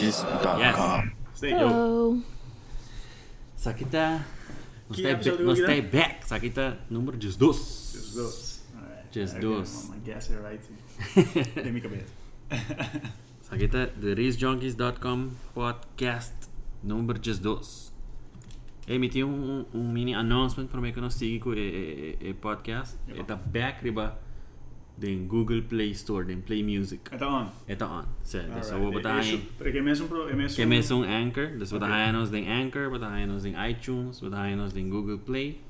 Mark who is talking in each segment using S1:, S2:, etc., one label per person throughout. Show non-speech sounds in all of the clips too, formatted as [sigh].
S1: Yes.
S2: Stay
S3: Então.
S2: yo.
S1: Sakita. Nos
S2: Ki
S1: tayo, ba-
S2: episode doen we
S1: nos
S2: dan?
S1: tayo back. Sakita, nummer 12.
S2: Just dos. Alright.
S1: Just
S2: Okay,
S1: dos.
S2: well, I guess you're
S1: [laughs]
S2: right. Let me commit.
S1: Sakita, the RaceJunkies.com podcast number 12. Emiti um, um mini announcement para mim que nós sigo e, e, e podcast.
S2: Ja.
S1: Está back riba den Google Play Store, den Play Music.
S2: Então, on.
S1: Está on. Se,
S2: Alright.
S1: so vou botar
S2: Isso.
S1: aí.
S2: Porque é mesmo pro- é mesmo-
S1: Que me são Anchor, dus we
S2: Oké.
S1: draaien ons ding Anchor, we draaien ons ding iTunes, we draaien ons ding Google Play.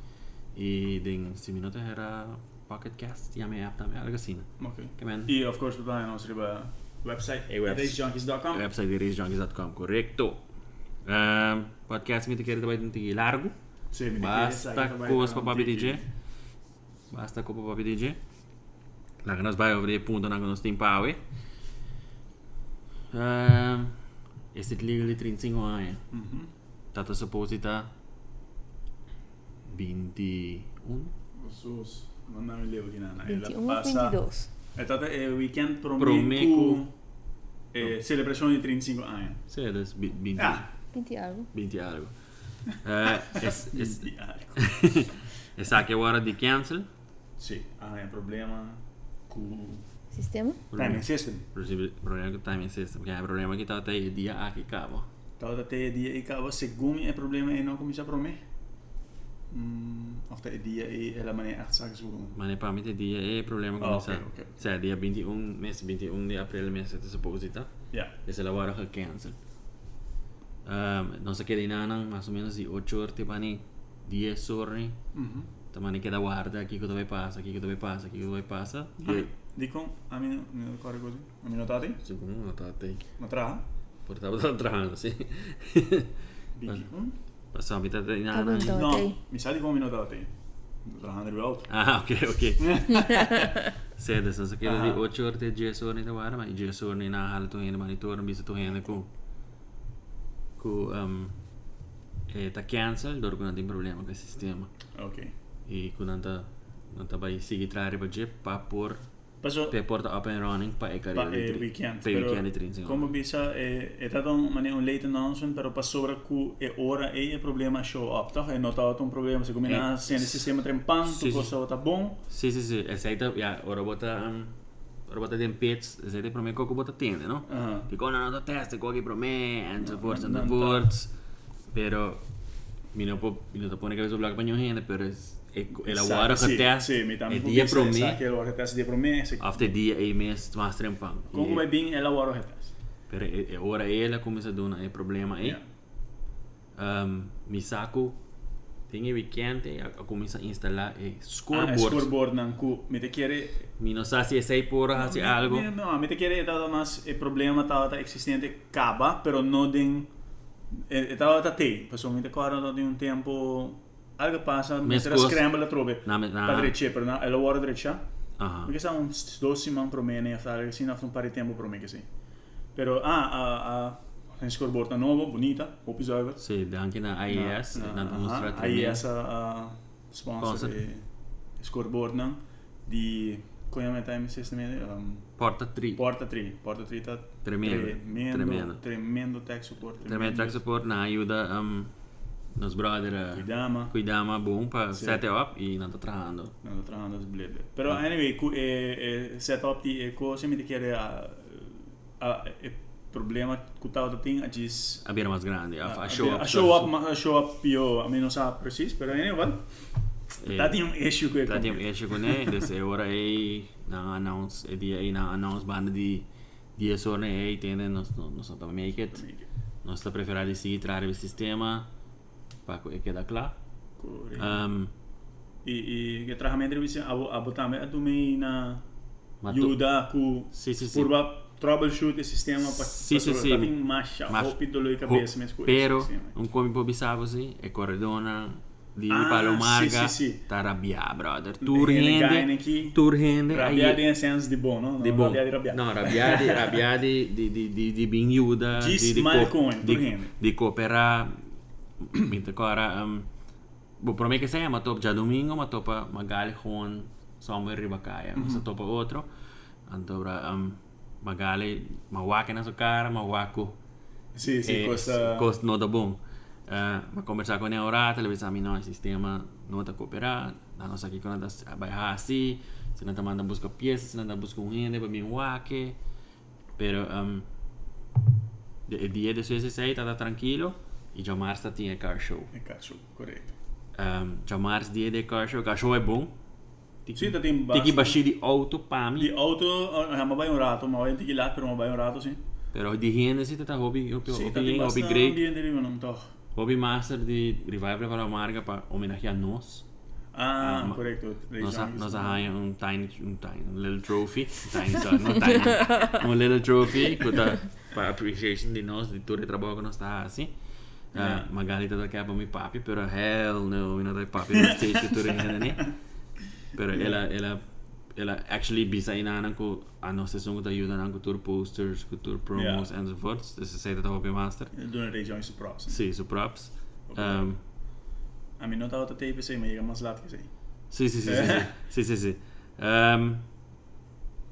S1: E ding, se me nota era Pocketcast, ja me app tam erga sina.
S2: um- Ok.
S1: né? Que é men.
S2: E, of course, botar na nossa riba website.
S1: Hey, É, webs- é,
S2: racejunkies.com.
S1: Website de racejunkies.com, correcto. Um, podcast me te quer também tem que largo.
S2: Sim, me
S1: Basta com os
S2: diz, aí, tá
S1: papapi
S2: vai, um
S1: DJ. Basta com o papapi DJ. Lá que nós vai abrir ponto na que nós tem power. Um, esse é legal de 35 anos.
S2: Uhum.
S1: Tata supposita 21.
S2: Jesus, não me lembro de nada. Ela
S3: 21
S2: passa-
S3: 22.
S2: É tanto, é, weekend pro
S1: Promeco.
S2: Meco. É, celebração de 35 anos.
S1: Sei lá, das 20,
S2: Ah,
S3: 20 algo.
S1: 20 e algo.
S2: [laughs]
S1: Eh, es- es- [laughs]
S2: diabo.
S1: Essa aqui é a hora de cancel.
S2: Sim, ah, é problema com
S3: Sistema?
S2: timing system.
S1: Problema problema com o timing system. Porque é problema que está até o dia aqui cabo.
S2: Então, até dia e acaba, segundo é problema e não começa para mim. Hmm, Of até dia e ela maneira as sacas vão.
S1: Mas é para mim, o dia é problema com
S2: Ah,
S1: essa.
S2: ok, ok.
S1: Sei, dia 21, mês 21 de abril, mês de supposita.
S2: Yeah.
S1: Essa é a hora que cancel. Um, não sei que de nada, mais ou menos de 8 horas, tipo, 10 horas.
S2: Uhum.
S1: Tamani queda guarda, aqui que tu vai passa, aqui que tu vai passa, aqui que tu vai passa. E
S2: Dico, a mim não recordo così. A mim não tá aí?
S1: segundo não tá até.
S2: Não tá?
S1: Portava tá entrando, [laughs] assim. Hmm.
S2: Dico.
S1: Passou a metade de
S3: Tá bom,
S1: nada.
S3: então.
S2: Não, me sai de como não tá aí. Tá andando de volta.
S1: Ah, ok, ok. Sede, så så queda de
S2: Aha.
S1: 8 horas de 10 horas de guarda, mas 10 horas nem na hala tu ainda monitor, bisa tu ainda com com um eh ta cancel, dor com tem problema com o sistema.
S2: Ok.
S1: E com nanta nanta vai seguir trair para jeep para pôr
S2: Passou.
S1: para porta up and running para e
S2: Pa,
S1: carreira.
S2: eh, weekend.
S1: Para
S2: pero
S1: weekend de 30.
S2: Como bisa, eh, è stato un, mane- un late announcement, però pa sopra cu e ora e il eh, problema show up, Eh, tá? E notato un problema, siccome
S1: Eh,
S2: eh, se nel sistema trempante,
S1: sì, sì.
S2: cosa sta buon,
S1: Sí, sí, sí. Esa ahí ya, ahora bota, um, ahora bota de pits, esa ahí te promete que bota tiende, ¿no?
S2: Ah.
S1: Digo, no, no, te teste, coge promete, and so forth, and so
S2: no, no.
S1: forth. Pero, mi no, po- mi no te pone que eso blanco paño gente, pero es, es el
S2: sa-
S1: aguaro que
S2: sì,
S1: te
S2: Sì, mi
S1: hace,
S2: tampo
S1: el día
S2: bisa, sa
S1: promete,
S2: che ora che test di promesse.
S1: after día y mes más trempan.
S2: Comunque vai bene e lavoro che test.
S1: Pero eh, eh, ahora ella comienza a dar el problema ahí.
S2: Yeah.
S1: Um, mi saco, tiene weekend, eh, comienza a instalar el
S2: Ah, e
S1: scoreboard.
S2: scoreboard nan cu, mi te chiede
S1: Mi no sa si es ahí por hacer algo.
S2: No, no, a mí te quiere dado más el problema estaba existente caba, pero no den estaba ta te, pues a mí te acuerdo de un tiempo algo pasa, me
S1: Mescos.
S2: tra scramble la trove.
S1: Na- na-
S2: Pa derecha, pero no, el war derecha.
S1: Ajá.
S2: Porque son uns 12 man promene, hasta algo así, hace un par de tiempo promene que sí. Pero ah, ah, ah, en scoreboard nuevo, bonita, hope is over.
S1: Sí, dan que na IES, na demonstra
S2: Ah, Aí
S1: também.
S2: essa a sponsor é
S1: Sponsor.
S2: de scoreboard nan di Koyama Time System um,
S1: Porta 3.
S2: Porta 3. Porta 3 tá
S1: Tremendo,
S2: Tremendo. Tremendo,
S1: tremendo.
S2: tremendo tech support.
S1: Também track support na ajuda um, nos brother eh, a
S2: Cuidama.
S1: cuidar mais bom para
S2: Sì.
S1: set up e não tá trabajando.
S2: Não, tô travando as bledas. Pero,
S1: Ah.
S2: anyway, cu, eh, eh, setup de eco, se me te quer a, a, eh, problema que tava tem a diz...
S1: A beira mais grande, Ah, a, a eh, show up.
S2: Ah, A show
S1: [laughs]
S2: up, ma- a show up, eu, a mim não sabe preciso, pero anyway,
S1: Eh,
S2: tá tem um issue com
S1: Tá tem
S2: eco.
S1: esse com né, desse hora aí na announce, e dia aí na announce banda de 10 horas aí tem nós nós tá make it. Nós tá preferir seguir trazer o sistema para que queda claro. Um,
S2: E, e que traz a minha entrevista, a, a botar a do meio na...
S1: Ma tu-
S2: Ajuda com...
S1: Sì, sì, sì.
S2: Curva, troubleshoot, sistema, para...
S1: Sì, sì, sì.
S2: Tá tem marcha,
S1: Mas-
S2: roupa e dolor de
S1: ho-
S2: cabeça, minhas coisas.
S1: Pero,
S2: Sim, mas-
S1: um come improvvisavo, sì, e corredona di
S2: Ah,
S1: Palomarga,
S2: sì, sì, sì.
S1: t'arrabbia, brother. Tu
S2: Rende
S1: rende,
S2: gaine chi?
S1: tu rende,
S2: Rabbiati in senso di buono, no?
S1: di buon-
S2: Rabbiati, rabbiati.
S1: No,
S2: [laughs]
S1: rabbiati, rabbiati di, di, di, di binghiuda,
S2: Gis
S1: di, di,
S2: Malcone, tu
S1: di,
S2: rende.
S1: di cooperà, [clears throat] mentre ancora, um, boh, per me che sei, ma top già domingo, ma topa magari con somewhere ribacaia,
S2: Mm-hmm.
S1: ma se topa altro, ehm, allora, um, magari, ma guacca nella sua cara, ma guacco
S2: Sì, sì,
S1: e
S2: questa-
S1: s- cost nota bom. Eh, ma conversar com a Neurata, ela pensa, não, o sistema não está cooperando, a nossa aqui quando está vai assim, se não está mandando buscar peças, se não está buscando um rende para mim, um wake. Pero, um, de dia de 16 está tranquilo e já março tinha car show.
S2: E caccio, Eh, corretto.
S1: Um, já março dia de car show, car show é bom.
S2: Sì, dat in
S1: Tem que
S2: basso.
S1: baixar de auto para mim,
S2: Di auto, eh, ma vai un rato, ma vai anche là per un vai un rato, sì.
S1: pero de rende se está hobby, hobby,
S2: Sì, dat in
S1: hobby,
S2: basso
S1: hobby
S2: non
S1: great.
S2: viene lì, non to.
S1: Hobby Master de Revival para a Marga para homenagear nós.
S2: Ah,
S1: ma-
S2: corretto. dei
S1: Nós,
S2: giorni,
S1: nós
S2: sì.
S1: arranha um tiny, um tiny, um little
S2: [laughs]
S1: trophy. Tiny, sorry, não tiny. um little trophy
S2: [laughs]
S1: para para appreciation de nós, de todo o trabalho que nós está assim.
S2: Yeah.
S1: Uh, Magalita daqui a pouco me papi, pero hell no, eu não dou papi no stage tudo ainda, né? Pero ela, ela, ela actually bisa inana com a nossa sessão que tá ajudando com tour posters, com tour promos,
S2: Yeah.
S1: and so forth. Essa saída da Hobby Master.
S2: Eh, Doen er dei giorni su props. sì.
S1: Sim, so props. Um,
S2: A me nota auto tape, sì, ma io che laat che sei.
S1: Sim, sim, sim, sim, sim. sim, sim, sim. Ehm,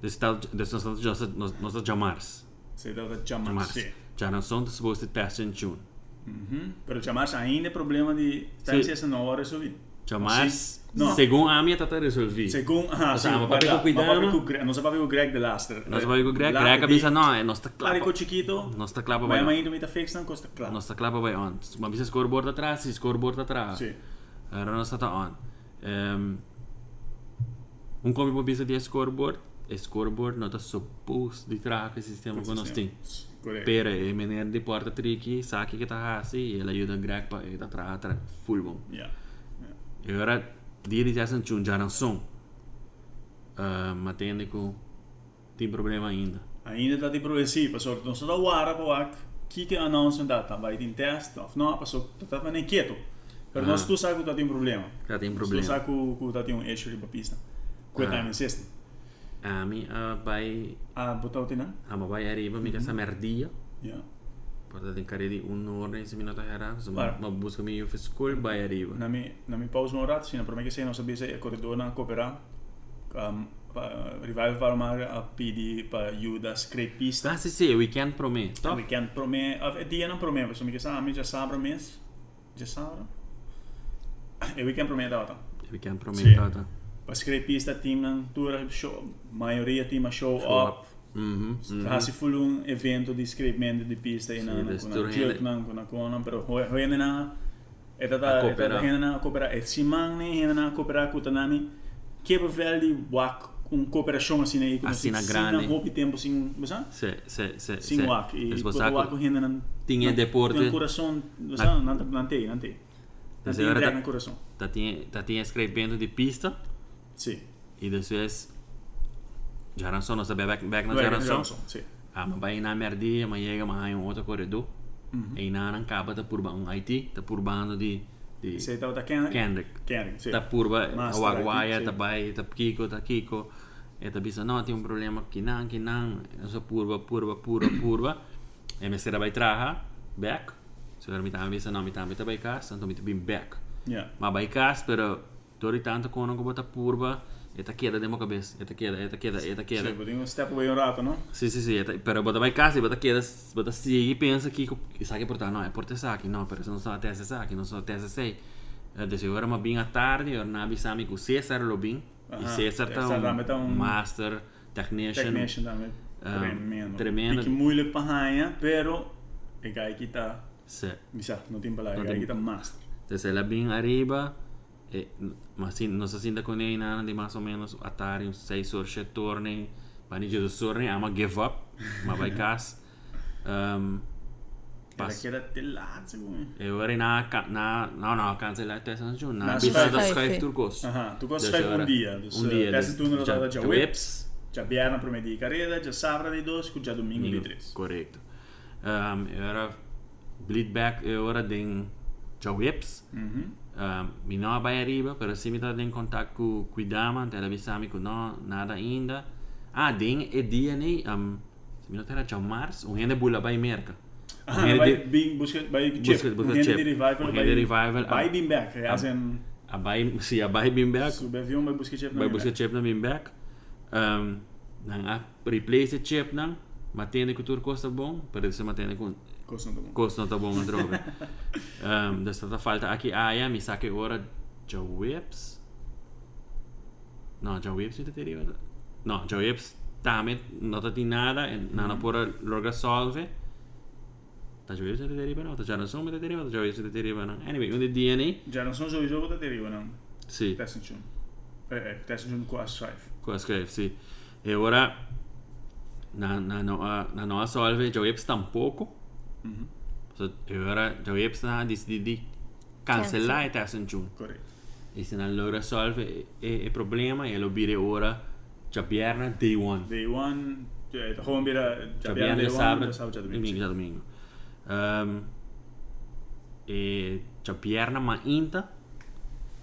S1: desse tal- desse nós estamos já- nós- nós estamos já em março.
S2: Sei da
S1: Em
S2: Jamars,
S1: março.
S2: sì.
S1: Já não são supposed to test in June.
S2: Mhm. Però Jamars ha ainda problema di stare
S1: Sì.
S2: senza 9 ore su via.
S1: Já
S2: Sim.
S1: março,
S2: Não.
S1: segundo a minha, está resolvido.
S2: Secondo ah, sì,
S1: Possiamo,
S2: ma
S1: proprio
S2: guarda,
S1: qui
S2: ma
S1: dama.
S2: proprio con Gre- non sapevo con Greg dell'Aster.
S1: Nós vamos com o Greg, Greg avisa, não, é nossa
S2: Claro
S1: clapa.
S2: con Chiquito,
S1: Nossa clapa
S2: ma è mai
S1: vai.
S2: indo meta fix non costa clap.
S1: Nossa clapa vai on. Uma vez scoreboard atrás, se scoreboard atrás.
S2: Sì.
S1: Era nossa está on. Ehm, Um combi para vista de scoreboard, scoreboard não está supposed de track o sistema que nós temos.
S2: Sì, corretto.
S1: Pera, e menere de porta tricky, saque que tá assim, ele ajuda a Greg pra ele tá atrás, atrás, full bom.
S2: Yeah. Yeah.
S1: E agora, dia de Jason Chun, já som. Eh, Matende com. Tem problema ainda.
S2: Ainda dat die progressiva, so non so da wara pa wak. Kike announcement data, vai in test of no, so dat va nem quieto. Per
S1: Ah.
S2: non sto sa che tu hai un problema.
S1: Já tem
S2: Sto
S1: problema.
S2: sa che tu hai un issue di papista. Quel
S1: Ah.
S2: time insist.
S1: A mim, ah, vai.
S2: Ah, botau tina?
S1: A mamãe vai arriba, me
S2: Mhm.
S1: essa merdia.
S2: Yeah.
S1: Porta tem cara de um hora e minutos era.
S2: Claro.
S1: Uma busca minha, eu school, vai arriba.
S2: Na mi, na mi pausa un rato, sino per me che sei non sapesse e corridore non cooperà. Um, pa, revive para mare a PD pa Judas crepista.
S1: Ah, sim, sim, weekend pra mim. Top.
S2: Weekend pro me, of eh, het dia non pro me, perché mi che sa, mi già sabra mes. Già sabra. E weekend pro me data.
S1: Weekend pra mim,
S2: Sim.
S1: tá, tá.
S2: Pa crepista team nan tour show, maioria team a show,
S1: Show
S2: up.
S1: Uhum.
S2: Mm-hmm. Hasi full un evento di scrapimento di pista in
S1: Sì,
S2: una
S1: adesso
S2: con
S1: torna-
S2: una jerk nan con una conan però ho henne na e
S1: A
S2: tata e
S1: coopera.
S2: tata henne na coopera e si mangne henne na coopera kutanami che bevel di wak un cooperazione assim aí com
S1: Assim na grande.
S2: grande hopi tempo sin besan
S1: Se, se, se.
S2: sin
S1: se.
S2: wak e
S1: Es
S2: com
S1: bosaco.
S2: wak henne nan
S1: Tinha deporte.
S2: tem coração besan nan nan te nan te nan
S1: Mas
S2: te
S1: agora
S2: drag
S1: tá-
S2: na coração
S1: Tá tinha, tá tinha escrevendo de pista
S2: sim
S1: e depois já não sou, não sabia back, back na
S2: Vai,
S1: geração.
S2: geração, sim
S1: Ah, mas vai na merda, mas chega, mas há um outro corredor. E na não acaba, tá por um Haiti, tá por bando de, de
S2: sei tata tá Kendrick
S1: Kendrick.
S2: Kendrick sim
S1: Tá por
S2: Master
S1: Aguaguaia,
S2: aqui,
S1: tá
S2: sim.
S1: vai, tá Kiko, tá Kiko. E tá pensando, não, tem um problema aqui não, aqui não. Eu sou curva, curva, curva, curva. E minha senhora vai trajar, back. Se eu me tava pensando, não, me tava tá vai cá, então me tá bem back.
S2: yeah
S1: Mas vai cá, pero todo tanto quando eu botar curva, eta queda de minha cabeça, eta queda, eta queda, eta
S2: sim
S1: queda.
S2: podemos step away um rato não
S1: Sim, sim, sim, eta- pero bota vai cá, se bota queda, se bota sigue e pensa que saque portar, não, é portar saque, não, pero se não são até essa saque, não são até essa sei. Eh, Desde agora, mas bem à tarde, eu não avisava que o César Lobin, e
S2: Aham,
S1: César tá
S2: César
S1: um,
S2: também tá um-
S1: master, technician,
S2: Technician também.
S1: Ah,
S2: tremendo.
S1: tremendo.
S2: Pique muito para arranhar, pero é que aqui tá.
S1: se-
S2: Bisa, não tem palavra,
S1: Não
S2: é que
S1: tem-
S2: aqui tá master.
S1: Entonces la bin arriba, eh, mas no se sienta con ella nada de más o menos atar un 6 horas se torne, para ni dos torne, ama give up, ma vai cas. Um,
S2: Ela
S1: pas.
S2: quer até lá, segundo.
S1: E ora na na no no cancella te san giù, na
S2: Na
S1: bisa da
S2: schuif.
S1: schuif turcos.
S2: Aha,
S1: Dus
S2: tu gostas de
S1: ora-
S2: um dia. Dus,
S1: un dia.
S2: Peço
S1: dus,
S2: tu não
S1: già-
S2: dá já
S1: già
S2: whips, já vierna para meio de carreira, já sábado de dois, já domingo de três.
S1: Correcto. Um, e ora bleed back e ora den già whips.
S2: Uhum.
S1: Um, mi não vai arriba, pero se me tá em contato com com a dama, ela avisou-me que não, nada ainda. Ah, den e dia nem, um, se me não terá já março, um rende bula vai merca.
S2: Ah,
S1: Um rende
S2: vai
S1: de-
S2: bem, busca, vai chip.
S1: Busca- busca
S2: Um rende
S1: chip.
S2: de
S1: Um
S2: revival,
S1: rende revival,
S2: vai
S1: ah.
S2: bem back. As em,
S1: a vai, se a vai bem back,
S2: se o Bevium vai buscar chip,
S1: vai buscar chip na bem back. ah, Um, não a replace chip não, matende que tudo custa bom, pero se matende com
S2: Coisa não tá bom.
S1: Kost tá bom na droga. um, da stata falta aqui Aja, mi sa che ora Joe Whips. No, Joe Whips inte teoria. No, Joe Whips tamet nota di nada e nana pora lorga solve. Ta Joe Whips inte teoria, no, ta già non sono inte teoria, ta Joe Whips inte teoria. Anyway, un DNA.
S2: Já não são jogos de jogo da deriva, não.
S1: Sì,
S2: Test and Tune. É, é, Test and Tune com a Strife.
S1: qua scrive, sì. E ora na na no na no solve Joe Whips tampoco.
S2: Uhum.
S1: Så ora Joe Whips ha decidito di cancellare Tyson June.
S2: Correto.
S1: E se non lo risolve il problema e lo bire ora, già pierna day one.
S2: Day One, eh, gewoon weer eh,
S1: Già
S2: Jabiana Day
S1: pierna
S2: One,
S1: sabato,
S2: Sabbath, Jabiana.
S1: domingo, già domingo. Ehm, e già pierna ma inta.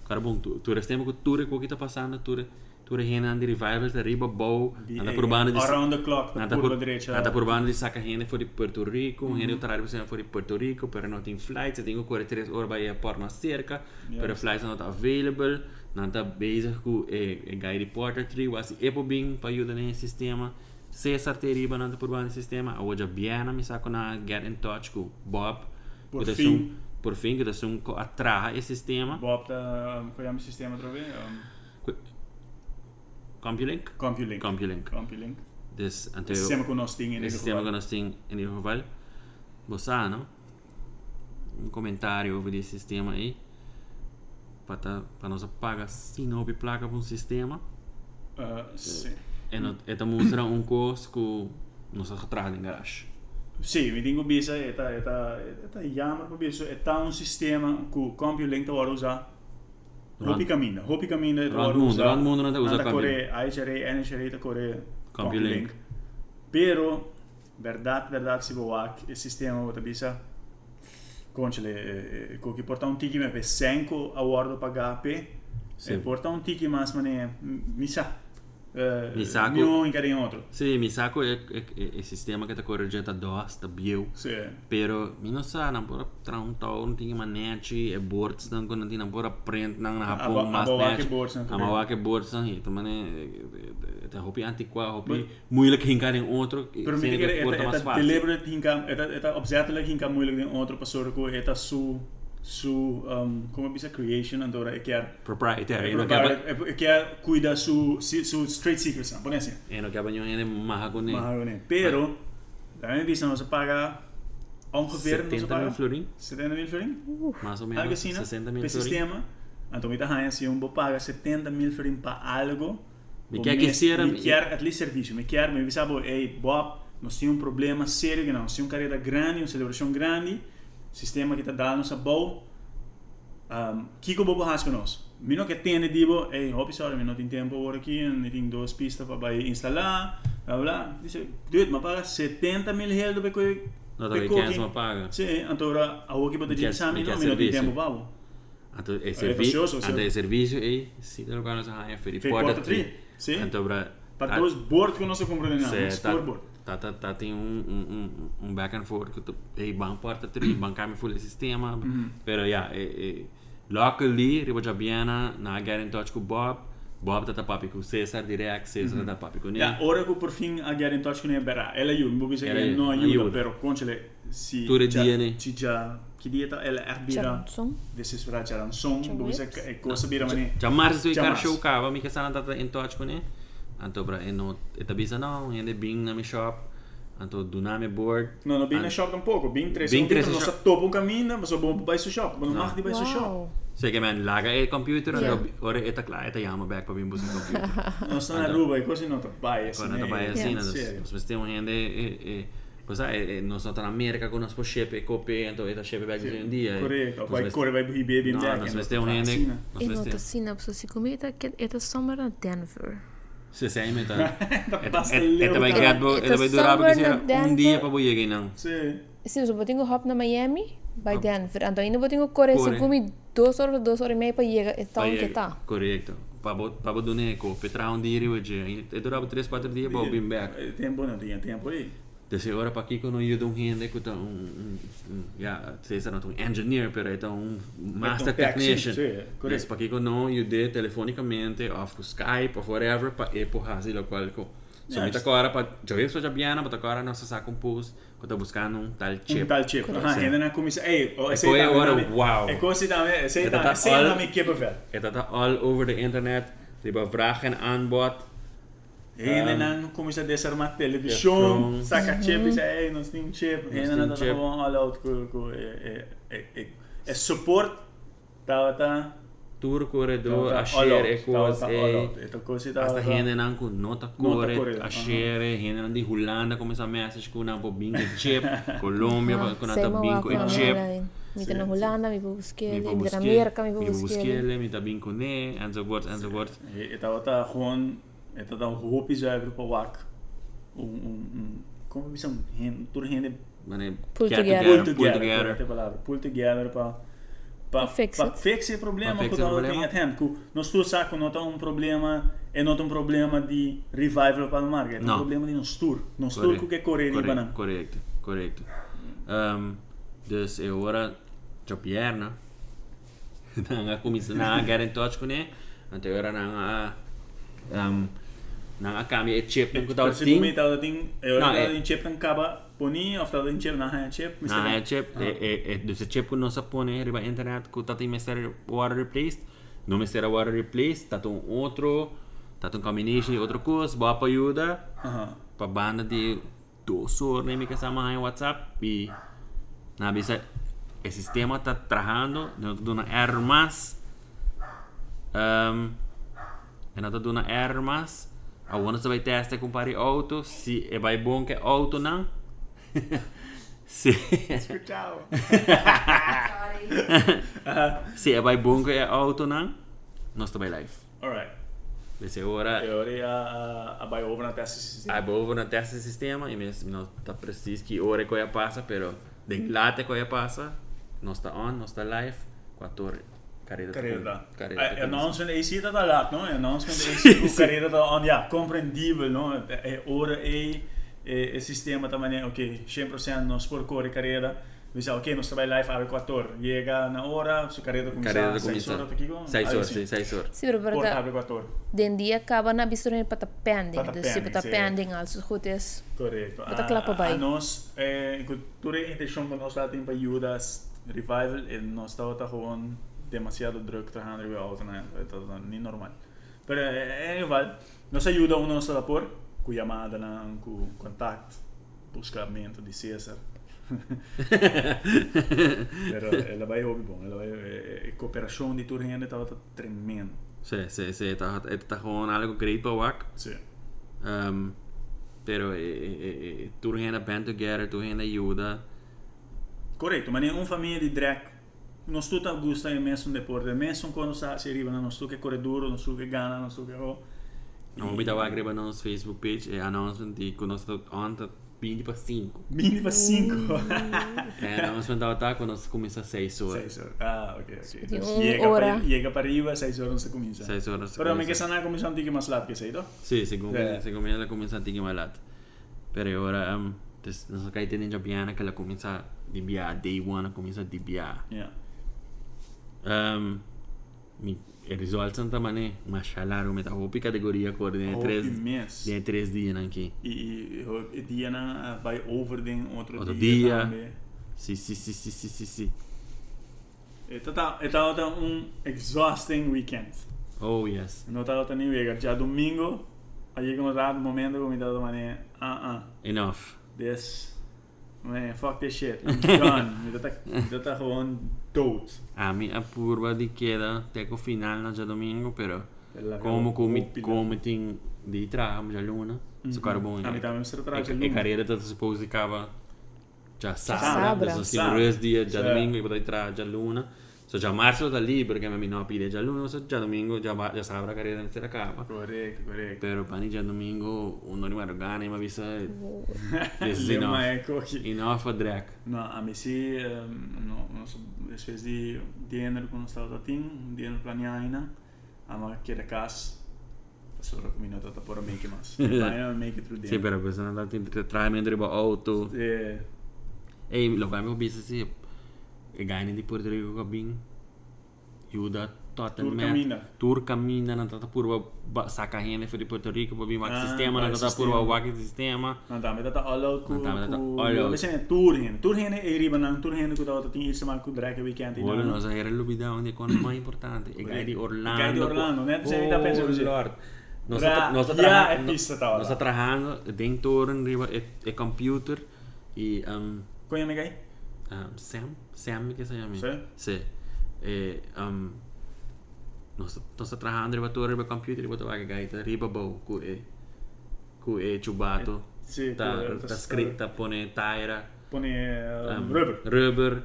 S1: Cara bom, tu, tu restiamo con ture quello che sta passando, ture, ture hena di revival, ti riba bow,
S2: Die
S1: anda
S2: eng-
S1: probando di...
S2: eh,
S1: eh,
S2: Around the clock, de
S1: Nada
S2: curva
S1: por,
S2: direita.
S1: nada por banda de saca renda foi de Puerto Rico,
S2: Mm-hmm.
S1: uhum. renda otário você foi de Puerto Rico, pero não tem flights, eu tenho 43 horas para ir a Porto mais cerca,
S2: Ja,
S1: pero flights não está available, não está bezig com eh, eh, guy reporter 3, was Epobing para ajudar nesse sistema, César Teriba não está por banda do sistema, hoje a Biana me saco na Get in Touch com Bob,
S2: Por
S1: que tá
S2: fim.
S1: sum- por fim, que está um atrás esse sistema,
S2: Bob, da, um, qual é o sistema outra vez? Um,
S1: CompuLink,
S2: CompuLink.
S1: CompuLink,
S2: CompuLink.
S1: Des- ante-
S2: Esse sistema com o nosso tinha,
S1: el sistema que nos tiene en el rival. Vos ah, ¿no? Un comentario sobre esse sistema aí. Para tá, pra nós apagar se não houve placa para um sistema. É
S2: Uh, sim.
S1: E não está mostrando um curso que nós atrás em garagem.
S2: Sim, me digo bisa, eta, eta, eta jammer por isso, eta um sistema que o CompuLink tá hora usar.
S1: Rand-
S2: Hopi Camina, Hopi Camina tá
S1: Rand
S2: hora
S1: mundo,
S2: usar.
S1: Rand mundo não tá usa
S2: Nada
S1: CompuLink.
S2: Coreia, IHRA, NHRA tá Coreia.
S1: CompuLink.
S2: Pero, verdade, verdade, se boak, esse sistema outra bisa, conchele, eh, eh, co que portar um tiki me pe 5 a hora para HP,
S1: Sim.
S2: e portar um tiki mas mané, missa. eh,
S1: Misa, co-
S2: Mio em cada outro.
S1: Sim, me saco é, é, é, é sistema que está corrigindo a DOS, está bio.
S2: Sim.
S1: Pero, mi não sabe, não pode tra um tal, não tem manete, é boards, não quando tem, não pode print, não na Japão,
S2: Aba-
S1: mas
S2: abawake boards, né, não,
S1: A
S2: correct.
S1: mawake boards, não, então, mano, é roupa antiqua, roupa moeilijk hincar em outro,
S2: Pero
S1: sendo
S2: minte
S1: que
S2: que
S1: porta
S2: eta
S1: mais
S2: eta
S1: fácil.
S2: deliberate hinka eta eta opzettelijk hinka moeilijk den andere persoon ko eta su su um como bisa creation andora e keer
S1: Proprietary,
S2: Eh,
S1: e não quer
S2: e keer cuida su si- su straight secrets na pones ya
S1: e não quer banho em marra com ele.
S2: mahagone pero daarmee bisa nos paga ongeveer nos
S1: 70 mil
S2: paga
S1: florim,
S2: 70 mil florin
S1: mais ou
S2: algo
S1: menos,
S2: Pues assim né
S1: 60
S2: per
S1: mil florim.
S2: sistema então me tá se um bo paga 70 mil florin para algo
S1: Me
S2: o
S1: quer que
S2: mês-
S1: seja-
S2: me quer at least serviço me quer me sabe ei Bob nós temos um problema sério que não nós temos uma carreira grande uma celebração grande sistema que está dando nossa bom um, que que o bobo faz com nós me não que tem digo ei hopi sorry me não tem tempo agora aqui eu tenho duas pistas para instalar blá blá disse dude me paga 70 mil reais do que
S1: Não tá vendo quem paga.
S2: Sim, então agora a outra pode
S1: Quer-
S2: dizer exame,
S1: quer
S2: não, não tem
S1: serviço.
S2: tempo, babo.
S1: Então, é serviço,
S2: precioso, sim.
S1: então é serviço e se der lugar nós arranha, foi
S2: Foi
S1: porta
S2: porta tri,
S1: 3.
S2: sim.
S1: Então,
S2: Para
S1: para
S2: todos bordo que nós não compreendemos,
S1: Cê
S2: um
S1: tá,
S2: scoreboard.
S1: tá, tá, tá, tem um, um, um, um back and forth que tu ei ban porta tri, bancar me full sistema. Pero ja, e, e, luckily, riba já biana, na get in touch com Bob. Bob tá tá papi com César direct, César tá tá papi com ele.
S2: Ja, ora que por fim É a guerra em Tóxico não é berá. Ela ajuda, vou dizer
S1: Ela é
S2: que não
S1: ajuda.
S2: ajuda, pero conchele, se
S1: Tudo
S2: já-
S1: dia, né?
S2: se já, que dia tá, ela é bira,
S3: Johnson.
S2: desses verá já som, vou dizer que é coisa bira, mané.
S1: Ah, Já março se
S2: Já
S1: cara
S2: março.
S1: show cava, me que sana tá tá in touch com ele. Então, pra, e não, e tá bisa não, e ainda bing na minha shop. Então, do nome board.
S2: Não, não bem na shop tampouco, bem três,
S1: Bem
S2: bem três,
S1: Ah. três Ah.
S2: nós topo um caminho, mas só bom para baixo shop, mas não marca de baixo shop.
S3: Wow.
S1: Sei que, man, laga e computer,
S3: Ja.
S1: yeah. ora e tá claro, e tá chama back pra mim buscar computer.
S2: Nós está na rua e coisa não tá baia, assim,
S1: Ah, Quando trabalha
S3: Sim.
S1: assim, nós,
S2: Sério.
S1: nós temos gente. É, é, pois é, é, nós estamos na América com nosso chefe, copé, então ele chefe back hoje em dia.
S2: Correto, vai correr, vai beber, bem
S1: Não, nós vamos ter um rende.
S3: E
S1: Nós
S3: não
S1: vamos
S3: tô
S1: ter.
S3: assim, na pessoa se comer, tá, tá somewhere na este Denver.
S1: Se sai, então.
S2: [laughs] Tá
S1: Ele vai
S3: Ito-
S1: durar
S3: ito
S1: vai durar porque
S3: somewhere na
S1: será um
S3: Denver.
S1: dia para boiar aqui, não.
S2: Sim.
S3: Sim, eu botinho hop pues na Miami, vai Denver. Então ainda botinho Coreia,
S1: Kore.
S3: se comer duas horas, duas horas e meia para chegar, então que tá.
S1: Correto. Para botar um copé, traz um dia hoje. Ele durava 3, 4 dias para vir Oh, back.
S2: É, Tempo não tinha, tempo aí.
S1: Dessa hora para aqui, quando eu dou um rende, que eu estou um. Já, sei se não um engineer, mas eu estou um master
S2: tech, sim,
S1: technician.
S2: sim, é, correto.
S1: Mas para aqui, quando eu dei telefonicamente, ou com Skype, ou whatever, para ir para fazer o qual. Somente
S2: isso.
S1: agora, pra, já ouvi a pessoa de Abiana, mas agora não se saca um pulso quando tá buscando um tal
S2: Um
S1: chip.
S2: tal tipo. Aham,
S1: Sim.
S2: ainda na comissão. Ei, oh, esse
S1: qual
S2: aí
S1: é a
S2: tá-
S1: hora?
S2: tá-
S1: Uau.
S2: É como se tá- esse aí
S1: É,
S2: tá-
S1: tá-
S2: esse aí
S1: olha-
S2: tá me kippen, velho.
S1: Het dat all over the internet. tipo Ze hebben vraag en aanbod.
S2: Ainda
S1: Um,
S2: não começa a desarmar televisão,
S1: telefones.
S2: saca chip, diz, ei, nós temos um chip, ainda
S1: temos
S2: não
S1: chip.
S2: tá bom, olha outro, cu- cu- é, é, é, é, é suporte, tá, tá,
S1: Tour corridor,
S2: tá,
S1: asher
S2: olha outro,
S1: echoes.
S2: tá, tá, olha outro, esta coisa tá,
S1: Hasta
S2: tá,
S1: henen aan kun nota
S2: correct,
S1: corre.
S2: aha.
S1: Asher, henen aan die Hollanda komen ze message kun aan bobin en chip.
S3: Ah,
S1: Colombia kun
S3: Sema
S1: aan bobin
S3: wako
S1: en
S3: na
S1: chip.
S3: online. Mita na
S2: Sim,
S3: Holanda, mi bubuskele.
S1: Mi
S3: Mita na
S1: bubuskele,
S3: Amerika, mi
S1: mi
S3: bubuskele.
S1: bubuskele, mi tabin kun nee, enzovoort, enzovoort.
S2: e- e tava tá, Juan, e tá, tá, roupa zuiver pro wak, um, um, um, como é isso, Hen- tudo rende,
S1: Wanneer
S3: Pull
S1: get
S3: together.
S1: together,
S2: pull together, esta palavra, pull together pra, pra,
S3: Pra fix
S2: pra
S3: it.
S2: fix esse problema
S1: Pra
S2: que
S1: fix
S2: tá
S1: o
S2: tem
S1: problema.
S2: a tempo, nós tu saco, não tá um problema, é não tá um problema de revival para o market, é um
S1: Não.
S2: problema de nós tour, nós tour
S1: Correct.
S2: que é correr e
S1: Correct,
S2: banana.
S1: correct, correct. Ehm, dus eu ora [laughs] Jopierna. Nanga comissão, nanga get in touch com ele. Ante ora nanga um nanga cambia e chip com tal
S2: Percebo me
S1: thing.
S2: tal ting, eu
S1: Não,
S2: tal
S1: é-
S2: em eh, chip não acaba poni, ou tal em chip não é chip, mas
S1: Na
S2: tem-
S1: é chip, é é dus e chip com nossa pone riba internet com tati mestre water replaced. Não mestre water replaced, tato um outro, tato um combination, outro curso, boa pra ajuda.
S2: Aham.
S1: pa banda di doso na mi kasama ang WhatsApp y nabisa el sistema está trabajando no te dona error más um, no te dona error más a uno se vai testa com pari auto se é vai bom que auto [laughs] não se [laughs]
S2: Tchau.
S1: se é vai bom que é auto não nós está live
S2: Alright.
S1: desse hora
S2: Eu orei a a buy over na testa
S1: Aí vou na testa do sistema e mesmo não tá preciso que hora que eu passa, pero de lata que eu passa, não está on, não está live, 14 carreira
S2: Carreira.
S1: carreira.
S2: Eh, Announcement AC tá da lá, não? Announcement AC com carreira da on, yeah, compreendível, não? É hora e é sistema também, é, ok, 100% nós por correr carreira. Diz, ok, nós trabalha live às 14, chega na hora, sua carreira
S1: Carreira da
S2: começa, 6
S1: comissão.
S2: horas tá aqui com? Ah,
S1: 6 horas, sim, 6 horas.
S3: Sim, pero
S2: Porta
S3: para
S2: abre 14.
S3: den dia acaba na bistura para tá pending.
S2: Para tá
S3: Dus se para
S2: pending,
S3: tá
S2: sim.
S3: pending, also goed is.
S2: Correto.
S3: Wat een klapper bij.
S2: A nós, é, cultura e intenção que nós lá tem para ajudar revival, e nós estava tá com demasiado drug trabalhando com a outra, né? Então, nem normal. Mas, é, igual, nós ajuda o nosso rapor, com chamada, né? com contato, buscamento de César. Mas ela vai hobby bom, ela vai, é, é, cooperação eh, de Turrende estava tá tremendo.
S1: Sim, sim, sim, está tá gewoon algo great para wak.
S2: Sim.
S1: Um, pero eh, eh, eh, tu renda band together, tu renda ajuda.
S2: Correto, mas nenhuma família de drag. Nós tudo gosta imenso do deporte, imenso quando sa- se arriva, nós tudo que corre duro, nós tudo que gana, nós tudo que oh.
S1: Não vou me dar o agreba na nossa Facebook page, é announcement de que nós estamos on, tá 20 para 5.
S2: Mínima 5. [laughs]
S1: É, announcement da ataque quando nós começamos 6 horas.
S2: 6 horas. Ah, ok, ok. Então,
S3: uma
S2: chega, para,
S3: hora.
S2: chega para arriba, 6 horas se começa.
S1: 6 horas.
S2: Pero me
S1: começa.
S2: que sanar começar um tique mais lá, que sei, tá?
S1: Sí, según
S2: Yeah.
S1: se comienza la comienza a malat. Pero ahora, um, des, nos acá tienen ya piana que la comienza a dibiar, day one comienza a dibiar.
S2: Yeah.
S1: Um, mi, el result Santa Mané, mashallah, me trajo mi categoría con de
S2: Hope
S1: tres,
S2: imenso.
S1: de tres días aquí.
S2: E, e, e hope- e dia na, ah, vai over den outro,
S1: Outro dia.
S2: também.
S1: Sí, sí, sí, sí, sí, sí, sí.
S2: Então tá, então tá um exhausting weekend.
S1: Oh, yes.
S2: No estaba teniendo que llegar ya domingo. Allí como estaba un momento como estaba tomando, ah, ah,
S1: Enough.
S2: this, man, fuck this shit,
S1: [laughs]
S2: I'm done. Me está, me está jugando dood.
S1: A mí a purva di queda, tengo final no ya domingo, pero como come, come tem de trabalho já luna, se cara bom.
S2: A
S1: né?
S2: mí también me trae
S1: Ik, ik herinner dat ze pose kava già
S3: sabra.
S1: sabra, sono
S2: Sabra.
S1: sempre resti, già
S2: Cioè.
S1: domingo, potrei tra già luna. So già marzo da lì perché mi non aprile già luna, so già domingo, già, va- già sabra carriera in sera cava.
S2: Correcto, correcto.
S1: Però pani già domingo, uno rimane organi, ma vi sa, this
S2: [laughs]
S1: is enough.
S2: Lema é coque.
S1: Enough for drag.
S2: No, a mí sí, um, no, no sé, después de dinero cuando estaba tatín, dinero planeado, a mí quiere casa, solo que me nota por make
S1: [laughs]
S2: it más. Final make it through
S1: Sì,
S2: dinero.
S1: però questo è andato in tre tra mentre va auto.
S2: Eh,
S1: E lo vai ho visto sì. E gani di Puerto Rico cabin. Judat. toată
S2: Turca
S1: lumea.
S2: mindă.
S1: Turca mindă, n-a dat purva sacahene de Puerto Rico, pe bima
S2: Ah,
S1: sistema,
S2: vai,
S1: n-a dat
S2: sistema.
S1: purva wak sistema.
S2: Na dame dat allo ku
S1: Na dame dat
S2: ku
S1: allo.
S2: we zijn toerheen. Toerheen e riba nan toerheen ku dat tien iets maar ku drake weekend in.
S1: Volano, să era lui Bida, unde e con mai importante. E gai di Orlando.
S2: Gai di Orlando, né? Você ainda pensa
S1: oh,
S2: così.
S1: Lord. Nós
S2: Bra-
S1: nós
S2: Ja, e pista tavola.
S1: Nós trabalhando dentro de computer e um,
S2: Kon je me gai?
S1: um, Sam, Sam que se chama.
S2: Sì?
S1: Sì. E um, nós nós trabalhando riba torre riba computer riba tovaga gai ta riba bow cu e cu e chubato.
S2: Sì, cu-
S1: ta
S2: eh,
S1: ta
S2: tas-
S1: scritta pone taira.
S2: Pone eh,
S1: um,
S2: rubber. Mm-hmm.
S1: Rubber.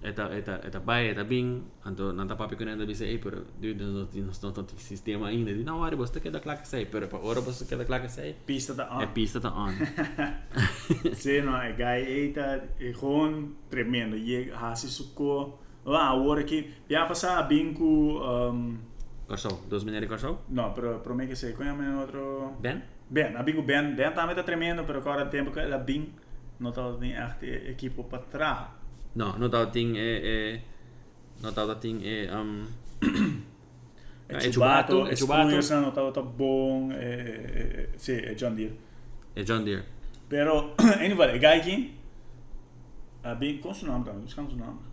S1: Eta, eta, eta bai, eta bing, anto nanta papi kun enda bisa ei, pero du den nos nos nos sistema ainda. Du não ari bosta queda claca sei, pero pa ora bosta queda claca sei.
S2: Pista da
S1: É [laughs]
S2: aan.
S1: pista ta
S2: [laughs]
S1: on.
S2: Sì, no, e gai eta e gewoon tremendo. Je hasi suko. La ora che pia passa binku um,
S1: Corsou, dos mineri corsou?
S2: no, pro pro me che sei con me altro
S1: Ben?
S2: Ben, a Bingo Ben, Ben tá muito tremendo, pero agora o tempo que ela Bing não tá nem echt eh, equipo para trás.
S1: No, no tau ting e e no tau ting e um Ja, e Chubato,
S2: é
S1: e Chubato.
S2: Scooters não tá tá bom, é, sim, é John Deere.
S1: e John Deere.
S2: Pero [clears throat] anyway, guy aqui a Bing com seu nome também, buscando seu nome.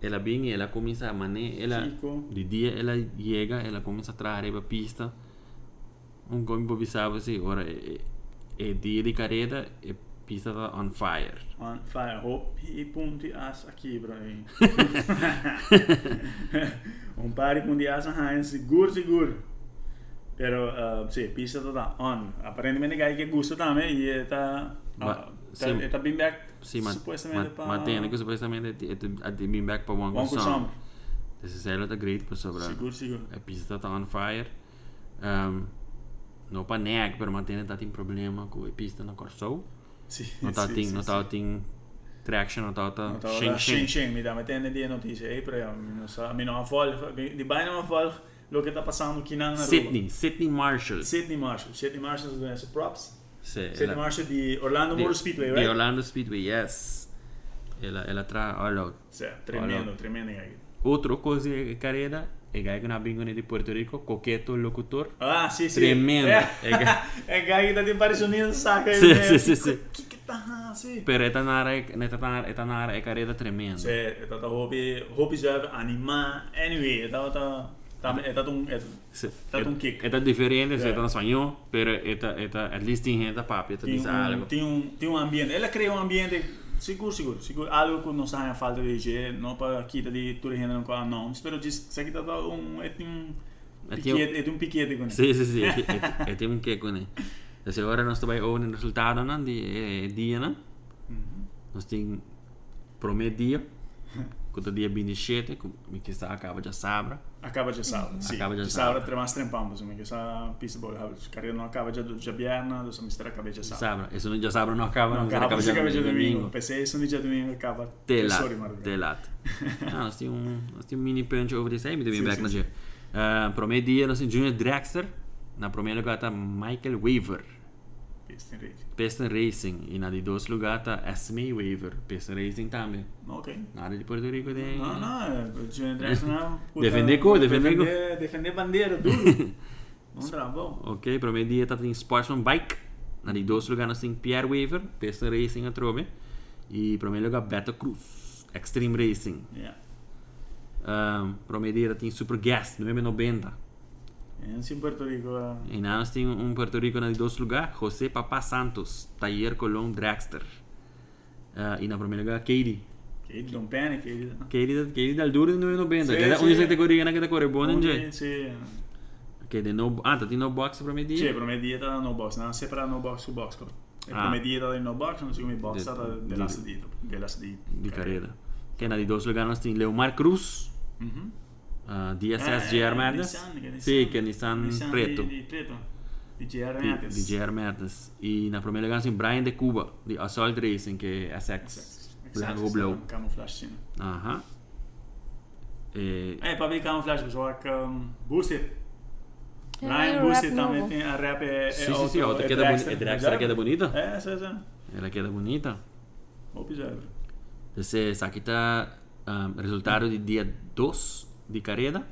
S1: Ela bing e ela começa a mané, ela
S2: Chico.
S1: de dia ela chega, ela começa a trazer a pista. Um como improvisava assim, ora é, é dia de careta e pista tá on fire.
S2: On fire, hope e punti as aqui, bro. [laughs] aí. um par de punti as a seguro, seguro. Pero, uh, sim, pista tá on. Aparentemente, guy que gusta também e tá.
S1: Ma-
S2: ah, tá,
S1: sim.
S2: tá bem back,
S1: Sim, mas,
S2: supostamente,
S1: mas,
S2: para.
S1: mas tem, né, que supostamente é de- é de mim back para Wang
S2: Wang
S1: Kusam.
S2: Kusam.
S1: Esse célula tá great para sobrar.
S2: Seguro, seguro.
S1: A pista está on fire. Um, não para neg, mas mantém tá tem problema com a pista na Corsou.
S2: Sim,
S1: Não tá
S2: sim,
S1: tem,
S2: sim,
S1: não
S2: sim.
S1: tá tem traction, não tá tá
S2: Want dat-
S1: shing
S2: dat- Sheng
S1: shing.
S2: Sheng, mi dá metendo de notícia aí para mim não afolga, de baina não afolga, o que tá passando aqui na na rua.
S1: Sydney, Sydney Marshall.
S2: Sydney Marshall, Sydney Marshall do essa props.
S1: Sim,
S2: Sydney Marshall de Orlando Motor Speedway,
S1: De
S2: right?
S1: Orlando Speedway, yes. Ela ela tra olha o-
S2: Certo, tremendo, tremendo aí.
S1: outra coisa que carreira é gai que na bingo de Puerto Rico, coqueto locutor.
S2: Ah, sim, sim. [laughs]
S1: Tremendo.
S2: É,
S1: É ga-
S2: é gai da de Parisonina, saca?
S1: Sim,
S2: né?
S1: sim, sim, sim.
S2: Que que tá, sim.
S1: Pero esta nara, esta nara, esta nara é carreira tremenda.
S2: Sim, é tá hobby, hobby já animar. Anyway, é tá tá tá é tá um é
S1: Sí.
S2: tá um kick.
S1: Esta é diferente, yeah.
S2: Yeah.
S1: esta é espanhol, pero esta, esta, at least tem gente papi, esta
S2: Tem
S1: diz
S2: um,
S1: algo.
S2: tem, um, tem um ambiente, ela cria um ambiente seguro, seguro, seguro. Algo que não sai a falta de IG, não para quitar de tudo renda com a não. Espero diz que isso aqui tá tá um. É tem um
S1: É, tem um-
S2: piquete, é tem um piquete com
S1: Sim, sim, sim,
S2: [laughs]
S1: é tem um que com ele. Então agora nós também ouvimos o resultado, né, de eh, dia, né? Nós tem prometo dia, quanto dia 27, como que está acaba já sabra.
S2: Acaba de salva, sim.
S1: Acaba de
S2: de
S1: salva.
S2: salva. Tremas trempampos, mas essa pista boa. Carreira não acaba de de bierna, do semestre acaba de salva.
S1: Sabra, isso não já sabra não acaba,
S2: Não
S1: não
S2: acaba,
S1: acaba
S2: se
S1: já
S2: acaba de domingo.
S1: domingo.
S2: Pensei isso no dia domingo, acaba.
S1: Telat.
S2: Sorry, Marvel. [laughs]
S1: Telat. Ah, nós temos um, nós temos um mini punch over this aí, muito bem
S2: Sim,
S1: back
S2: sim,
S1: no
S2: sim.
S1: dia. Ah, primeiro dia, nós temos Junior Dragster. Na primeira lugar está Michael Weaver,
S2: Pista em rede.
S1: Peston Racing. E na de dois lugar está Esme Weaver, Peston Racing também.
S2: Ok.
S1: Nada de Porto Rico tem.
S2: Não, não, o Júnior
S1: [laughs]
S2: Andrés não. puta,
S1: Defender cu, defender cu.
S2: defender Defender bandeira,
S1: [laughs]
S2: duro. Vamos lá, bom.
S1: Ok, primeiro dia está tem Sportsman Bike. Na de dois lugar nós temos Pierre Weaver, Peston Racing a trove. E primeiro lugar Beto Cruz, Extreme Racing.
S2: Yeah.
S1: Ah, primeiro dia tem Super Gas, 990.
S2: Antes em Puerto Rico. ah,
S1: E nada más tiene un Puerto Rico en el dos lugar, José Papá Santos, Taller Colón Dragster. Ah, y en el primer lugar, Katie.
S2: Que ele não pena, que ele.
S1: Katie, Katie del duro de 990,
S2: Sí,
S1: que es la
S2: sí.
S1: única categoría en la que te corresponde en Jay.
S2: Sim.
S1: Que de no, ah, tiene no box para medir.
S2: Sim, prometia tá no box, não separar no box com box. cara. E
S1: Ah.
S2: prometia tá no box, não sei como box,
S1: De-
S2: tá de
S1: de-
S2: last de de last de.
S1: De carrera. Que en el dos lugar nos tiene Leomar Cruz,
S2: Uhum.
S1: ah,
S2: Ah,
S1: DSS
S2: é,
S1: GR
S2: é,
S1: Merdes.
S2: Mhm. Nissan, que é
S1: Sí, que Nissan
S2: Nissan de-
S1: Preto.
S2: De Preto. De GR
S1: De,
S2: Mertes.
S1: de GR Merdes. Y en el primer lugar nos tiene Brian de Cuba, de Assault Racing, que es SX. Blanco Blow.
S2: Camuflage, sim.
S1: Ajá. Eh,
S2: É, para ver camuflage, pessoal, que um, boosted.
S3: É,
S2: Ryan
S3: o
S2: Boosted
S3: rap
S2: também
S3: novo.
S2: tem a rap é, é
S1: Sim, sim, sim, a outra queda boni- é Dragster, a queda bonita.
S2: É, sim, sim.
S1: ela queda bonita.
S2: Observe.
S1: ah, Entonces, aquí está um, resultado de día 2. de carreira,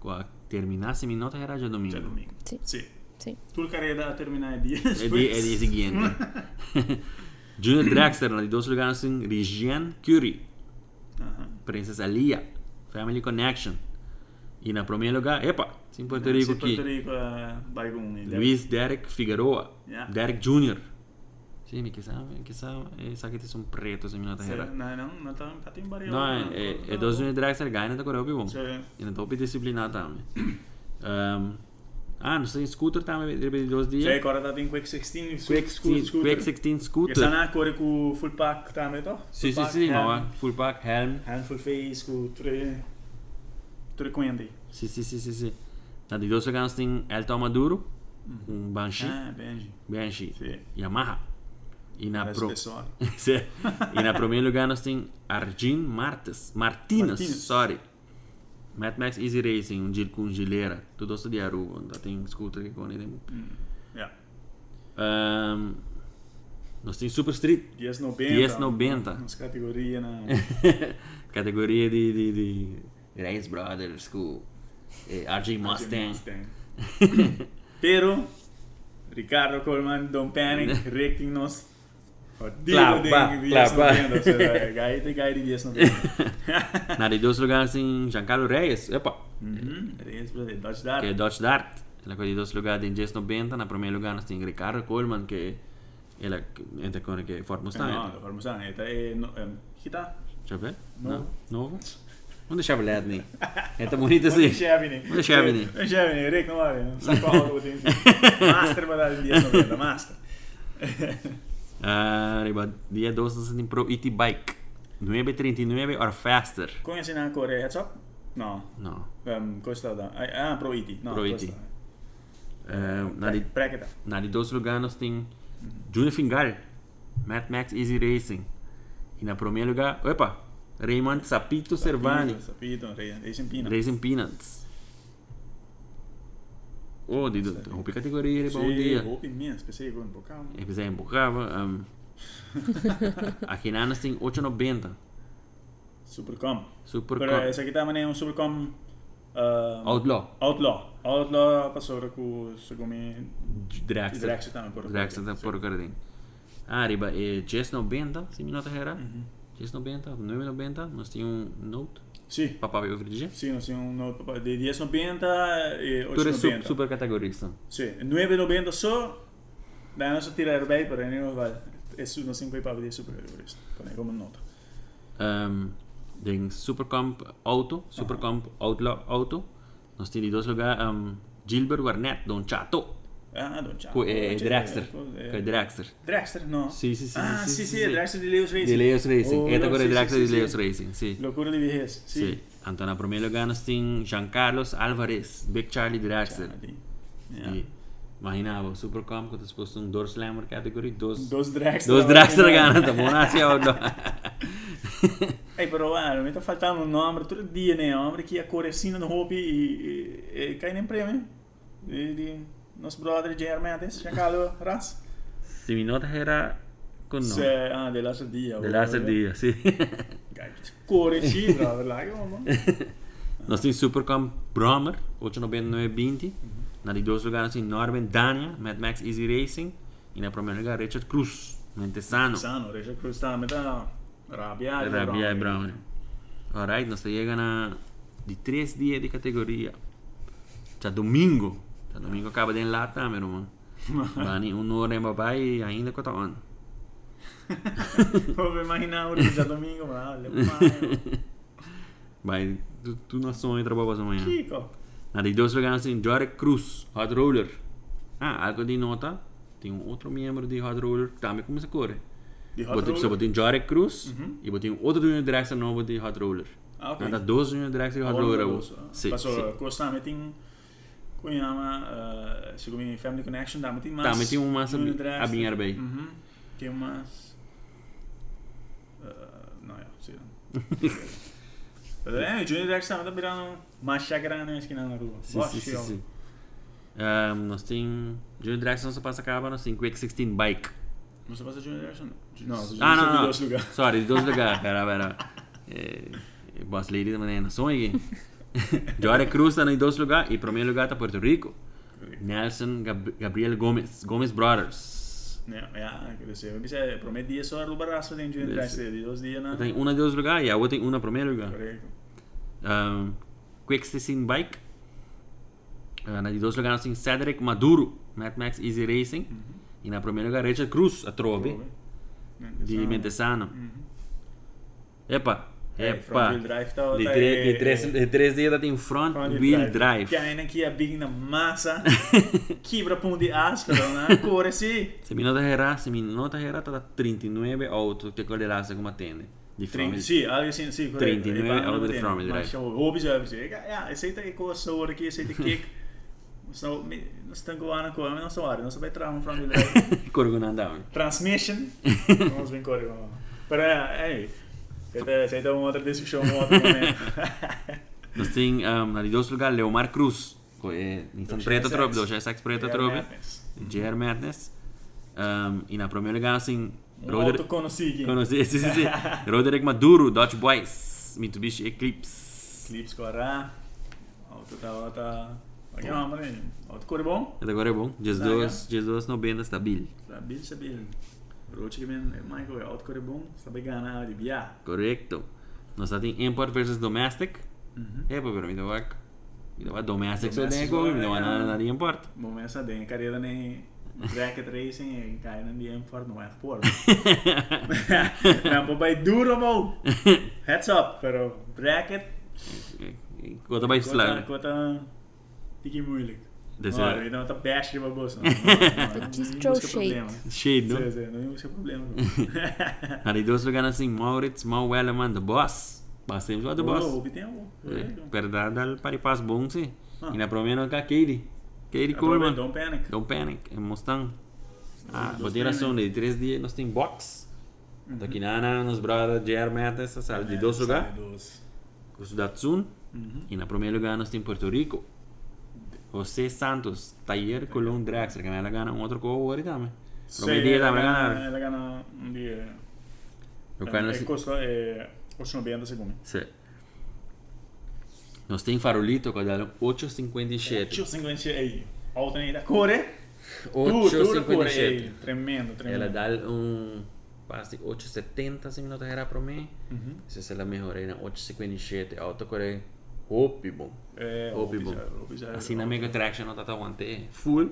S1: com a terminasse minha nota era já domingo.
S2: Cioè domingo.
S3: Sì. Sì.
S2: Tu il carriera da terminare di
S1: É de, é de seguinte. [laughs] Junior Dragster, na de dois lugares, em Regine Curie,
S2: Ah,
S1: Princesa Lia, Family Connection. E na primeiro lugar, epa, sim Porto
S2: eh,
S1: Rico
S2: sì, Porto
S1: aqui,
S2: Rico eh, vai con il-
S1: Luiz Derek Figueroa,
S2: Yeah.
S1: Derek Jr. Sim, me sabe, que sabe, sabe que são pretos em minha nota
S2: Sì,
S1: era.
S2: no, no, non t'ho fatto in barriera.
S1: tá Não, é, é, é dois Junior Dragster, ganha da Coreia, bom.
S2: Cioè,
S1: E na top disciplinar também. Ahm, ah, não sei, scooter também, de dois
S2: cioè,
S1: dias.
S2: ancora dato in tá Quake 16, su-
S1: Quick
S2: su-
S1: 16
S2: scooter.
S1: Quick 16
S2: Che
S1: Scooter.
S2: stanno ancora con é full pack, tá tame, to?
S1: Sì,
S2: Full
S1: sì,
S2: pack,
S1: sì,
S2: hand-
S1: ma va, eh. full pack, helm.
S2: hand full face, con tre... tre quindi.
S1: Sì, sì, sì, sì, sì. Na de dois lugares tem Elton Maduro, um Banshee,
S2: Ah, Benji.
S1: Banshee,
S2: Sì.
S1: Yamaha. E na,
S2: Adesso
S1: pro...
S2: te so.
S1: [laughs] Sì. e
S2: [laughs]
S1: na primeiro lugar nós tem Argin Martes, Martinez,
S2: Martinez.
S1: sorry. Mad Max Easy Racing, um gil com gileira, tudo isso de Aruba, onde tem scooter que com ele.
S2: Mm. Yeah.
S1: Ahm, nós tem Super Street, [laughs]
S2: 1090.
S1: 1090.
S2: Una categoria, no.
S1: categoria de, de, de Grace Brothers com eh, RJ [laughs] Mustang.
S2: Pero, Riccardo Coleman,
S1: [laughs]
S2: don't panic, rating nos.
S1: Clappa, clappa. [laughs]
S2: Gaete, gaete, 1090.
S1: Na de dois lugares em Giancarlo Reyes, epa,
S2: Mhm. Reis, brother, Dodge
S1: que é
S2: Dart.
S1: Dodge Dart. Ela de dois lugares em Jess 90, na primeiro lugar nós tem Ricardo Coleman, que ela entra com que é Ford
S2: No,
S1: Mustang.
S2: no, da Parmesana. Eta, eh, no, ehm, chi tá?
S1: Deixa eu ver.
S2: Novo.
S1: Não. Novo? Onde chave LED, né? Entra
S2: [laughs]
S1: bonito assim. né?
S2: Scevini.
S1: Onde
S2: [laughs]
S1: Scevini?
S2: Onde Scevini, Rick, non vale,
S1: [laughs]
S2: non sa qua lo potenti. Master, ma dai, 1090, master. [laughs]
S1: Ah, riba, dia 12 nós tem Pro ET Bike. 939 or faster.
S2: Come se ne ancora, heads up? No.
S1: Não.
S2: Ehm, questa da... Ah, Pro IT. No,
S1: Pro E IT.
S2: questa.
S1: Ah, na de
S2: Bracket.
S1: Na de dois lugares nós tem Junior Fingal, Mad Max Easy Racing. E na primeiro lugar, opa, Raymond Sapito Servani,
S2: Sapito, Racing Pino.
S1: Racing Peanuts. Oh, de de- de roupa categoria, ele bom dia.
S2: Hope in minha, pensei que um bocado.
S1: Ele precisa empurrava.
S2: [laughs]
S1: Um, aqui na nós tem 890,
S2: Supercom.
S1: Super
S2: Però
S1: Cup,
S2: essa aqui também é um Supercom ah,
S1: Outlaw,
S2: Outlaw. Outlaw passou com o Sugumi e
S1: Draxler,
S2: Draxler também. por acaso.
S1: Draxler da Porcardin. Ah, riba, é Jess 90, se me nota era.
S2: Uhum.
S1: Jess 90, 990, nós tem um Note,
S2: Sim,
S1: papai eu acredito.
S2: sim, nós temos um novo papel de 1090 e
S1: Tu eres sub,
S2: 890.
S1: super categorista.
S2: Sim, 990 só. Daí nós tirar bem, porém não vale. Isso não tem que papel de super isso. Porém, como nota.
S1: Um, tem Supercomp Auto, Supercomp Outlaw Auto. Nós temos em dois lugares um, Gilbert Barnett, Don Chato,
S2: Ah, não, tchau.
S1: que é Dragster. Que é
S2: Eh,
S1: Dragster.
S2: Dragster, não.
S1: Sim, sim, sim.
S2: Ah,
S1: sim,
S2: sì, sì, Dragster di Leos Racing.
S1: De Leos
S2: Oh,
S1: Racing. Esta agora é
S2: sì, sì,
S1: Dragster
S2: sì,
S1: de
S2: sì.
S1: Leos Racing, sim.
S2: Loucura de vejez, sì.
S1: Sim. Então, na primeiro lugar, nós temos Jean Carlos Alvarez, Big Charlie Dragster.
S2: Sì. É.
S1: E, imaginava, Supercomp, que tu fosse um Door Slammer categoria, dois,
S2: Dos Dragster. Ah,
S1: dois Dragster ganham,
S2: [laughs]
S1: tá bom? Nasce Outlaw.
S2: Ehi, però, guarda, mi sta faltando un nome, tre die ne nome, che è Coresina assim no Hopi e... e... e cai in premio? E di... Nos brother Jeremy adesso, Giancarlo, Raz.
S1: Se me nota era com nome.
S2: Se... Ah, The Last Dia.
S1: The Last Dia, sì.
S2: Coresina, brother, là, che mamma.
S1: [laughs] Nós temos Supercom Brommer, 89920. Na de dois lugares tem Norman Dania, Mad Max Easy Racing. E na primeiro lugar, Richard Cruz, Mentesano.
S2: Sano, Regia Cruz, ah, sta a metà... Rabbia e
S1: Rabia e Brommer.
S2: [laughs]
S1: Alright, nós chegamos na... de três dias de categoria. Já domingo. Já domingo acaba de enlatar, meu irmão. Bani, um hora em papai e ainda com a on.
S2: Come immaginavo che già domingo, ma... le- ma-
S1: Vai, tu, tu não sonha trabalhar amanhã.
S2: Chico.
S1: Na de dois lugares tem Jarek Cruz, Hot Roller. Ah, algo de nota. Tem um outro membro de Hot Roller que também começa a correr.
S2: Di Hot
S1: Botei,
S2: Roller.
S1: só botei Jarek Cruz e botei um outro Junior Dragster novo de Hot Roller.
S2: Ah, ok. é
S1: Nada, 12 Junior Dragster e Hot Roller.
S2: Allora,
S1: Sim, sim.
S2: Passò questa meeting come chiama, eh, siccome Family Connection, da meeting mas.
S1: Tá, mas tem um massa
S2: Unit Rest.
S1: a binhar bem.
S2: Mhm. Tem um mas. eh, no, ja, sì.
S1: [laughs]
S2: Però eh, Junior Rex stava da Milano, ma sciacrano e schinano a rua.
S1: Sim, sim, sim. sim. Ah, nós tem Junior Dragster não só passa a capa, nós tem Quick 16 Bike.
S2: Non so cosa Junior Rex no. No,
S1: Ah,
S2: Junior
S1: não, não.
S2: Rex di Los Luca.
S1: Sorry, de dois lugares. Pera, pera. É, Boss Lady também é na sonha aqui. [laughs] Jorge Cruz está em dois lugar e primeiro lugar está Puerto Rico. Nelson Gab- Gabriel Gomes, Gomes Brothers.
S2: Ja, ja, ik dus, eh, we zijn promet die is al barrasso er de er, engineer
S1: Dit is-
S2: dresse, die dos die na.
S1: Tem um em dois lugar e a outra tem um no primeiro lugar.
S2: Correct.
S1: um, Quick Sixteen Bike. Uh, na die dois lugares tem Cedric Maduro, Mad Max Easy Racing. E na primeiro lugar, Richard Cruz, a Uhum. Trobe,
S2: er
S1: de Mentesano.
S2: Mhm.
S1: Epa,
S2: Hey,
S1: epa.
S2: front-wheel drive tá-
S1: de,
S2: tá
S1: tre-
S2: aí.
S1: de, três, de três dias ela tem é- um front, wheel drive.
S2: Kijk, aqui a big
S1: [laughs]
S2: na massa. Quebra pão de áspero, né? Corre sim.
S1: Se mi nota errada, se mi nota errada, tá 39 auto que colerasse como atende. De front wheel.
S2: Sim, algo assim, sim, correto.
S1: 39 oude front-wheel er drive.
S2: Mas o er hobby já é Ja, aceita que coisa sobre aqui,
S1: [laughs]
S2: aceita kick. Não estão goando com a nossa área, não sabe travar um front wheel
S1: [laughs]
S2: drive.
S1: Corgona down.
S2: transmission. Vamos brincar com Pero é, é. Essa aí tem uma outra discussão, um outro momento.
S1: Nós tem, um, na de dois lugares, Leomar Cruz. co- eh, Nissan
S2: Dos
S1: Preta
S2: SX.
S1: Trobe, 2SX Preta
S2: Yeah,
S1: Trobe.
S2: madness.
S1: JR Madness. Um, e na primeira liga, assim,
S2: Um outro
S1: Roderick,
S2: consigo.
S1: Conoci- sim, sim, sim.
S2: [laughs]
S1: Roderick Maduro, Dodge Boys, Mitsubishi Eclipse.
S2: Clips corá. Outro tá, outro tá. Aqui não, mas outro cor bom.
S1: Até agora é bom. Jesus, Jesus não bem stabil.
S2: Sabil, sabil. Roche que vem, Michael, outro cor bom. Sabe ganhar de biá.
S1: Correcto. Nós temos import versus domestic.
S2: Uhum.
S1: É, pero me deu a... Me deu a domestic,
S2: Domestic,
S1: só tem como, me deu a
S2: yeah.
S1: nada, nada de import. [laughs]
S2: Momento de carreira nem bracket racing e cair na DM for não é [laughs] por. [laughs] Não, papai duro, bom. Heads up, pero bracket
S1: Quanto mais
S2: Kota,
S1: slime.
S2: kota tikkie moeilijk.
S1: Dus,
S2: maar
S1: eh,
S2: weet je nou, dat bash je maar bos.
S1: [laughs]
S3: Het is trouwens shade.
S1: Shade,
S2: No,
S1: não?
S2: no, no,
S1: [laughs]
S2: problema.
S1: Ali dois lugares assim, Maurits, Mal Wellerman, The Boss. Passemos lá The Boss. É,
S2: Oh, wie tem
S1: Verdad, al paripas bom, sí.
S2: Ah. É
S1: Y la primera acá, Katie. Katie Coleman. um
S2: Don't panic.
S1: Don't panic, en né? É Mustang. Ah,
S2: Don't
S1: vos tienes razón, de 3 días nos tem box. Tá Da que nada, nos brada JR Matas, o
S2: É,
S1: sea, de dos lugar. Os Datsun.
S2: Uhum.
S1: Y na primeira lugar nos tem Puerto Rico. José Santos, Taller Colón Draxler, que me la gana un otro cobo ahorita, me. Prometí
S2: é
S1: que la gana.
S2: La gana um un día.
S1: Lo cual
S2: Eh,
S1: nos-
S2: Costa, eh, 890 segundos.
S1: Sí. Nos tem Farolito, que dá 8,57.
S2: 857, ey. Alternativa, corre. Duro, duro, corre.
S1: 8,57.
S2: ey. Tremendo,
S1: Ela
S2: tremendo.
S1: dá um passe 870 se me não errar para mim.
S2: Uhum.
S1: Se ela melhorei na 857, alta corei. Hope bom.
S2: É,
S1: Hobby bom. Assim na Mega Traction não tá tão ante full.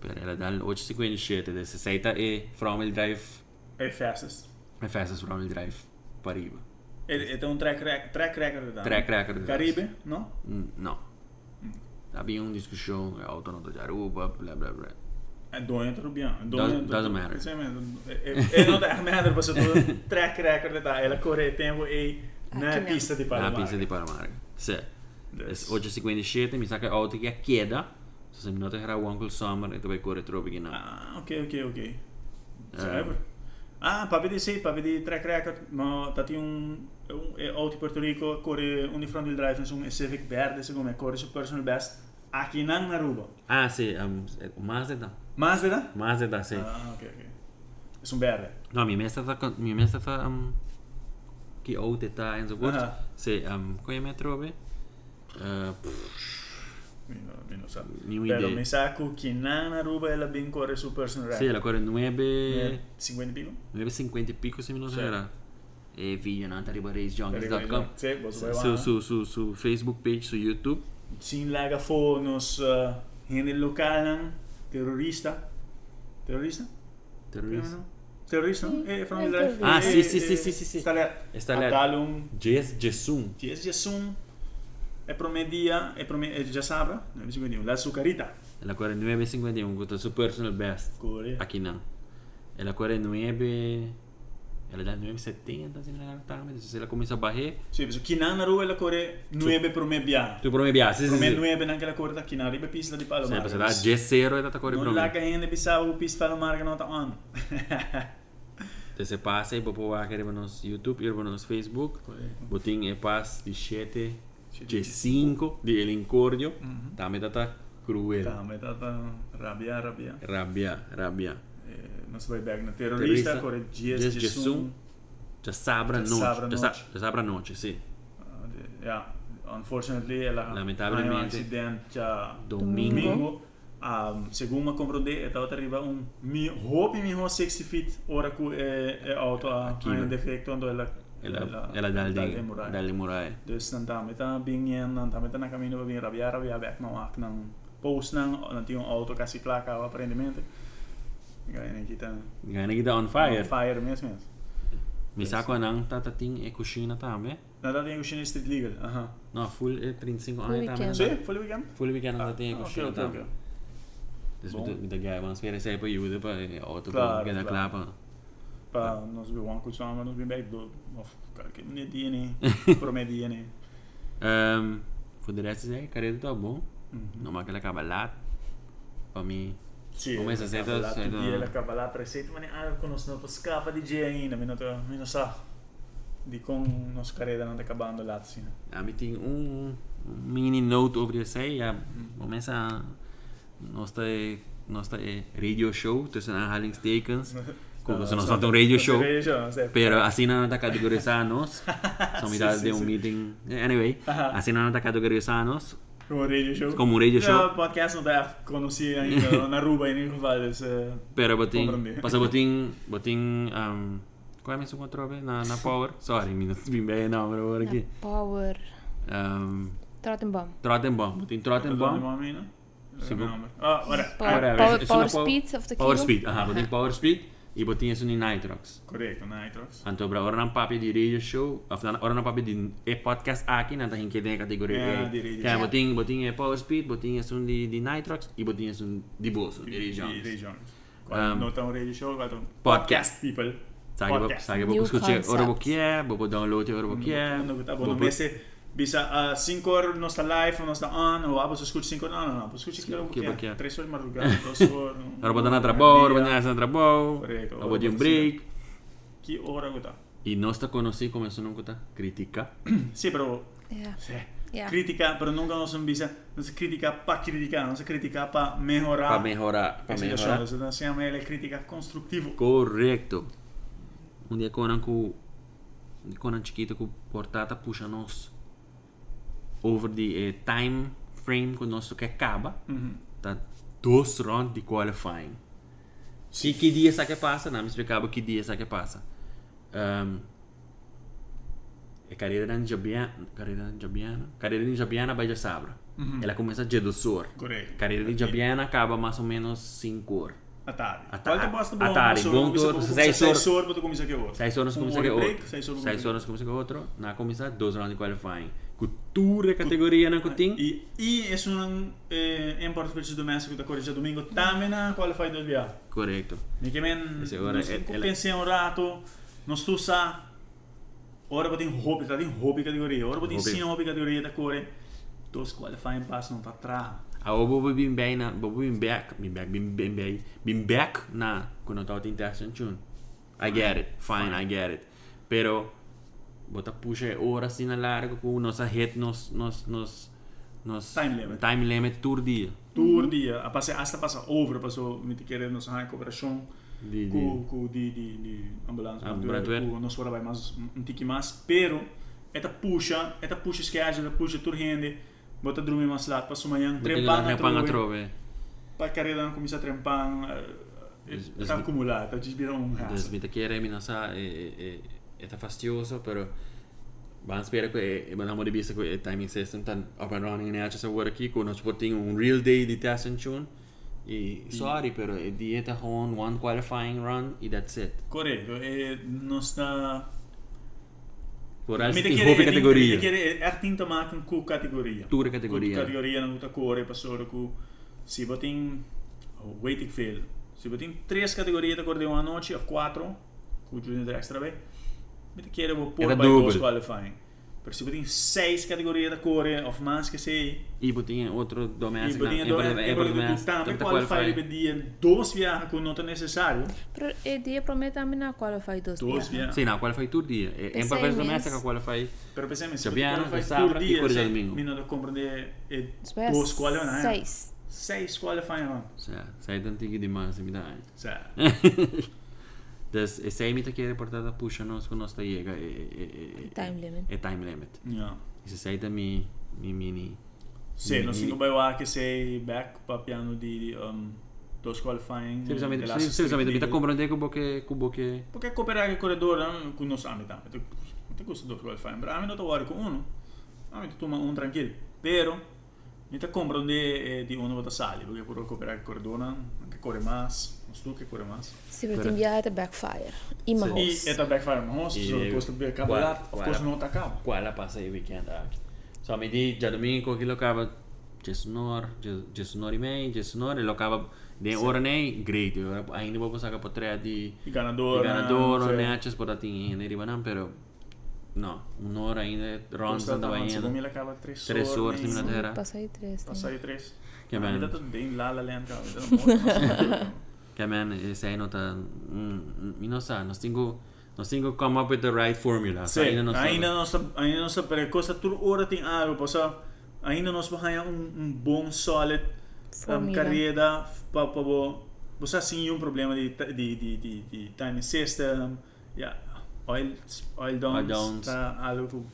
S1: Pero ela dá 857, de 60 e from wheel drive,
S2: É fastest.
S1: me fazes from wheel drive para riba.
S2: Ele, ele tem um track, rec- track record da
S1: Track record da-
S2: Caribe, não?
S1: Hum, Não. Havia uma discussão, a auto não tá de Aruba, blá blá blá.
S2: É doente é do Bian.
S1: Doesn't- doesn't matter.
S2: é, Ele não dá merda pra você
S1: [laughs]
S2: do track record da ela corre tempo e na
S3: Aqui não.
S2: pista de
S1: Na
S2: Panamá.
S1: pista de Paramarga. Certo. Es 857, mi sa che auto che queda. So se mi nota era Uncle Summer e dove corre troppo che no.
S2: Ah, ok, ok, ok.
S1: É.
S2: Serve? Ah, papi di sì, papi di track record, tá ma tati un, un e auto in tipo Puerto Rico corre un in front wheel drive, insomma, e Civic Verde, secondo me, corre su personal best, a chi non Aruba.
S1: Ah sì, um, eh, Mazda.
S2: Mazda?
S1: Mazda sì.
S2: Ah, ok, ok. È un verde.
S1: No, mi è stata con- mi è stata um, che auto sta in so
S2: Ah.
S1: corso. Sì, um, come mi trovi? Eh,
S2: Mi lo sa.
S1: New
S2: Però
S1: Idea.
S2: mi sa che chi non Aruba è la ben corre su personal
S1: sì,
S2: record.
S1: la corre 9
S2: 50 Eh, pico?
S1: 950 e picco se mi nota
S2: Sì.
S1: era. E figlio non arriva racejunkers.com.
S2: Sì, posso
S1: Su, su, su, su Facebook page, su YouTube.
S2: Sin laga fonos uh, in il locale terrorista. Terrorista?
S1: Terrorista.
S2: Terrorista?
S3: Sì,
S2: Eh, from
S3: è
S2: the drive.
S3: terrorista.
S1: Ah, sì, sì, sì, sì, sì, sì.
S2: Sta là.
S1: E sta là.
S2: Atalum.
S1: Jess Jessun.
S2: Ti es Jesum. E promedia, e promedia, e già sabra, non mi sembra la sucarita.
S1: La corre 951 con il suo personal best.
S2: Corre.
S1: Aqui não. Ela corre 9. Ela dá 970, se não tá, mas se ela começa a barrer.
S2: Sì, penso, chi non Aruba è la corre 9 promedia.
S1: Tu promete piace, sì,
S2: Prome
S1: sì.
S2: 9 anche la corda chi non arriva pista di palo.
S1: Sì, perché da Jessero è andata corre
S2: Non la
S1: promete.
S2: che pisavo pista palo che non ta tá on. [laughs]
S1: Te se passa e poi vai a nos YouTube, e nos Facebook. Botin e pass di 7,
S2: Siete. Mm-hmm.
S1: G5 di Elincordio. Da metà ta
S2: Tá,
S1: cruel.
S2: mas tá, tá. Rabia, rabia.
S1: Rabbia, rabbia.
S2: Eh, non saprei bene, terrorista, corre GS
S1: Jess
S2: Gesum.
S1: Jessun. Già sabra
S2: Già sabra
S1: noce. Già sa-
S2: noce.
S1: già sabra noce, sì.
S2: Ah, de- Ja, unfortunately, ela
S1: Lamentavelmente.
S2: ganhou um acidente ah,
S1: Domingo.
S2: domingo. Um, segundo me compreendi, ela arriba um mi hope mi ho 60 feet ora cu é é auto a
S1: Aqui,
S2: um
S1: né?
S2: defeito quando ela
S1: Ela, ela dá ali,
S2: murai.
S1: dá ali murai.
S2: Dus dan daarmee dan ben je dan daarmee dan kan je weer rabia rabia back nou ak nang post nang dan die auto kasi klaka wa prendimento. Ga je net dan
S1: Ganha que dá on fire.
S2: Fire mesmo mesmo.
S1: Me saco não, tá, tá, tem, é coxina também.
S2: Nou dat is in street legal. Aha.
S1: Não, full é 35
S3: Full
S1: anos também.
S3: weekend.
S2: Zie, volle weekend?
S1: Full weekend
S2: Ah,
S1: não tem, é
S2: oké,
S1: coxina
S2: oké, oké.
S1: também. Dus
S2: Bom.
S1: met de guy, want spelen zij per jude, per auto,
S2: Claro,
S1: per
S2: claro.
S1: klappen.
S2: Pa, nós vi one coach sama, nós vi back do. Of, cara, que nem dia nem. Promedia nem.
S1: Ehm, Voor de rest is hij, carrera tá bom. Normaal que ele acaba laat. Para mim,
S2: Sim.
S1: Come se senta- senta-
S2: Dia ela acaba lá para sete, mas ah, quando nós não escapa de dia ainda, mas não tô, mas não sabe. De como nossa carreira não tá acabando lá assim.
S1: a mim tem um um mini note over de zij. Ja, começa nossa nossa radio show tussen aanhalingstekens.
S2: [laughs] Ah,
S1: Como você não solta um radio show.
S2: Radio show, certo.
S1: Pero assim não está categorizando nós. Somos
S2: Sim,
S1: de
S2: sim,
S1: um
S2: sim.
S1: meeting. Anyway, assim não está categorizando nós.
S2: Como um radio show.
S1: Como um radio show.
S2: Não, podcast não tá
S1: [laughs]
S2: conhecido ainda, na Aruba em eh, nenhum vale. se-
S1: Pero botin,
S2: Comprende.
S1: pasa botin, botin, um, qual é mesmo o controle na, na Power? Sorry, [laughs] me vim bem não, mas agora aqui.
S3: Power.
S1: Um,
S3: Trottenbom.
S1: Trottenbom, botin Trottenbom.
S2: Nome, né?
S1: Seguro.
S2: Nome. Ah, olha.
S3: Power,
S1: Whatever,
S3: power,
S1: it's
S3: power
S1: not power-
S3: speed of the
S1: Power
S3: kilo.
S1: Speed, aha, botin Power Speed e botin isso em Nitrox.
S2: ah, Correto, né, Nitrox.
S1: Então, para agora não papo de radio show, afinal, agora não papo de e podcast aqui, não tem que ter categoria.
S2: É,
S1: E.
S2: de radio
S1: Que é,
S2: show.
S1: botin, botin é Power Speed, botin isso de, de Nitrox e botin isso de bolso, de Ray Jones.
S2: Ray Jones.
S1: Um,
S2: Não tão radio show, quando um
S1: Podcast.
S2: people.
S1: Sabe,
S2: Podcast.
S1: sabe, vou
S3: New
S1: escutar agora o
S3: concept.
S1: que é, vou download agora o que é.
S2: Quando tá bom,
S1: vou-
S2: não pense, bisa a 5 horas não está live, não está on, ou ah, abas escute 5 horas, não, não, não, escute aquilo
S1: Aquilo
S2: que
S1: que é.
S2: é 3 horas de
S1: [laughs]
S2: madrugada, 2 horas.
S1: Ora botar na né? trabou, ora
S2: dia.
S1: botar na trabou,
S2: Correto.
S1: ora botar um break.
S2: Que hora que tá?
S1: E nós te conheci como isso nunca tá crítica.
S2: Sim, pero
S3: Yeah.
S2: Sì.
S3: Yeah.
S2: Critica, pero nunca nos envisa, nos critica para criticar, nos critica para mejorar.
S1: Para melhorar, para
S2: Essa
S1: melhorar.
S2: questão, essa se chama ele crítica construtiva.
S1: Correto. Um dia Conan com Conan chiquito com portata puxa nós over the eh, time frame que nosso que acaba. Tá dois rounds de qualifying. E que dia essa que passa? Não me explicava que dia essa que passa. Ehm, é carreira de Jabiana, carreira de Jabiana, carreira de Jabiana vai de Sabra. Ela começa dia do sur.
S2: Correto.
S1: Carreira de Jabiana acaba mais ou menos 5 horas.
S2: Atari.
S1: Atari.
S2: Qual é o passo bom?
S1: Atari,
S2: Você
S1: bom
S2: começa
S1: tour,
S2: com-
S1: seis
S2: começa
S1: horas.
S2: Seis horas, você começa aqui outro.
S1: 6 horas
S2: Um
S1: começa
S2: hora
S1: que
S2: break,
S1: outro.
S2: seis
S1: 6
S2: horas começa
S1: horas começa que outro. Na começa 12 rounds de qualifying. Cultura categoria na cutim.
S2: E, e é um eh, import versus doméstico da Correia Domingo também na qualify do dia.
S1: Correto.
S2: Me que men,
S1: Esse ora é- ela-
S2: pensei um rato, não estou sa, ora botem hobby, tá tem hobby categoria, ora botem
S1: Hobby.
S2: sim hobby categoria da Correia. Dois qualifying pass não tá atrás.
S1: A obo bo Ah, bim bem na bo bim back bim back bim bim bem bim back na quando tá o intention tune. I get it. Fine, I get it. Pero bota puxa hora assim na largo com nossa hit nos nos nos nos
S2: Time limit.
S1: Time limit tour dia.
S2: Tur dia, a passei hasta passa over, passou me te querer nos high cooperação
S1: Di-
S2: com com di di di ambulância,
S1: Ah, Brandwehr.
S2: com nos ora vai mais um tique mais, pero eta puxa, eta puxa schedule, eta puxa tur rende, bota dormir mais lá, passou manhã, trempar na
S1: Trepan a
S2: trova,
S1: trove.
S2: para carreira não começa a Eh, trempar,
S1: Des- des-
S2: está acumulado, tá desvirar um
S1: Des
S2: raça.
S1: mi te quiere mi nosa é é tá fastidioso, pero Van spera que e mandamo di vista que o timing system tan up and running in HS agora aqui com nós portinho um real day de test and tune. E sorry, pero é dieta hon one qualifying run e that's it.
S2: Correto, e não está
S1: Por alto
S2: Me te
S1: tem
S2: quiere-
S1: roupa
S2: me te- Me
S1: categoria.
S2: quiere- é tem que tomar com categoria.
S1: Tua categoria.
S2: Com categoria não muita cor, passou com se botem oh, waiting fail. Se botem três categorias da cor de uma noite, ou quatro, com o Junior Extra B. Me te quero vou pôr
S1: Era
S2: by
S1: double.
S2: those qualifying. Mas se botem seis categorias da cor, of mais que sei,
S1: E botinha outro
S2: e
S1: doméstico.
S2: botem dois, e botem tu também qualify, e botem dois viagens que não é necessário.
S3: Pro, e dia promete a mim na qualify dos
S2: Dois
S3: dias.
S2: viagens.
S1: Sim, não, qualify tour dia. É
S3: Pensei
S1: em papéis
S3: nisso.
S1: doméstica qualify.
S2: Pero pensemos, se
S1: Sabia,
S2: botem qualify
S1: sábado
S2: por
S1: e
S2: dia,
S1: corrida
S2: sei,
S1: domingo.
S2: me não compreende, é
S3: Espera,
S2: duas qualify, não é?
S3: Seis.
S1: cioè,
S2: Seis qualifying rounds.
S1: [laughs] Sai tanto que demais, me dá.
S2: Certo.
S1: Dus eh, zij met keer reportada puxa nós com nossa chega é é
S3: Time limit.
S1: É eh, time limit.
S2: Yeah.
S1: Isso sai da mi mi mini.
S2: Sì, non si doveva anche se back papiano di um, dos qualifying.
S1: Simplesmente,
S2: della
S1: simplesmente,
S2: Street
S1: me tá
S2: League.
S1: comprando com boque com boque.
S2: Perché cooperare il corridore con noi ambiti, ambiti, ti gusta due quel fai, però ambito vuole con uno, ambito tu ma un tranquillo, però mi ti compro di, eh, di uno da sali, perché pure cooperare il corridore, anche corre mas, non so che corre mas.
S3: Ze werd een jaar te é backfire. In mijn
S1: Ze-
S2: E
S3: hoofd.
S2: è da backfire, ma non
S1: E-
S2: so, costa
S1: guarda,
S2: per cavalare,
S1: guarda.
S2: costa non ti cavo.
S1: Qual a passa aí weekend aqui. Só me di já domingo que locava Jesunor, Jesunor e meio, Jesunor, ele locava de hora nem great. Eu ainda vou passar por três de
S2: Il ganador,
S1: de ganador,
S2: sì.
S1: né, achas por atingir ainda e banam, pero não, uma hora ainda ronda
S2: Costa
S1: da
S2: davanti, secondo me
S1: banheira.
S2: la cava tre sorti.
S1: Tre sorti, me la
S2: no?
S1: te- era.
S3: Pas hij tres.
S2: Passai tre.
S1: Che
S2: Mi ha
S1: bello.
S2: dato ben là la lenta, molto.
S1: Que man, esse aí não tá, hum, e não sabe, nós temos nós temos que come up with the right formula.
S2: Sim, ainda não, ainda não sabe, ainda não sabe, porque coisa toda hora tem algo, possa ainda nós vamos um, um bom solid um,
S3: Formula.
S2: carreira para para você sim um problema de ti- de de de, de time system, yeah, oil oil
S1: Oil
S2: downs,
S1: downs.
S2: tá algo que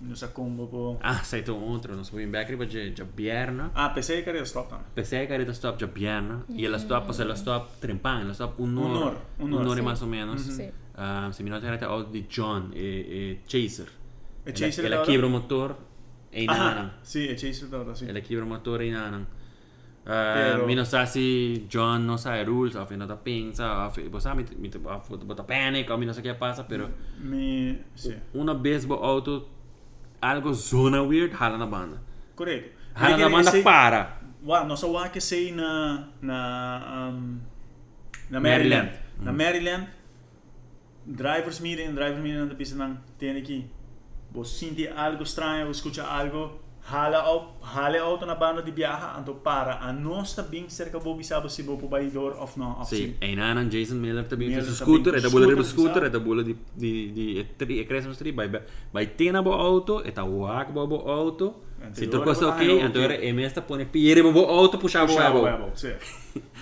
S2: nos acomba po.
S1: Ah, sei tu outro, nós vamos back riba de de bierna.
S2: Ah, pensei que era stop também.
S1: Pensei que era de stop jabiana y el stop, o sea, el stop trempan, el stop un
S2: Un Mm-hmm.
S1: honor,
S2: hor, un hor.
S1: honor
S3: Sí.
S1: más o menos.
S3: Mhm. Sí.
S1: Ah, se me nota era out de John, eh, eh, Chaser.
S2: E Chaser
S1: el,
S2: era-
S1: el quiebra motor e
S2: Ah,
S1: nana.
S2: sim, é chase da sim.
S1: El quiebra motor e nana.
S2: Pero-
S1: Uh, mi no sa si John no sabe rules, o no ta pinza, o pues a boh, mi mi te bota boh, panic, o mi no sé qué pasa, pero
S2: Me, sim.
S1: una baseball auto algo zona weird jala na banda.
S2: Correto.
S1: Jala na
S2: Perché
S1: banda
S2: se-
S1: para.
S2: Wow, nossa uá que sei na na um, na Maryland.
S1: Maryland.
S2: Na Maryland. Drivers meeting, drivers meeting na pista nang tiene aqui. Vos sente algo estranho, vos escuta algo, hala op, hala auto na banda de viaja, anto para. A nossa bem cerca bo bisabo se bo po baidor of no, of
S1: Sì, e in Anan Jason Miller tabin
S2: Oh, Miller
S1: su
S2: tabin
S1: scooter,
S2: su
S1: e da bulla di
S2: scooter,
S1: scooter, e da bulla di di di e tri e crescem stri by by tena bo auto, e ta wak bo bo auto.
S2: Ante
S1: Se
S2: ora
S1: tu costa
S2: bo-
S1: ok,
S2: ah, ok.
S1: anto era e mesta pone piere bo bo auto pushavo
S2: Bravo,
S1: abo.
S2: bravo, sì.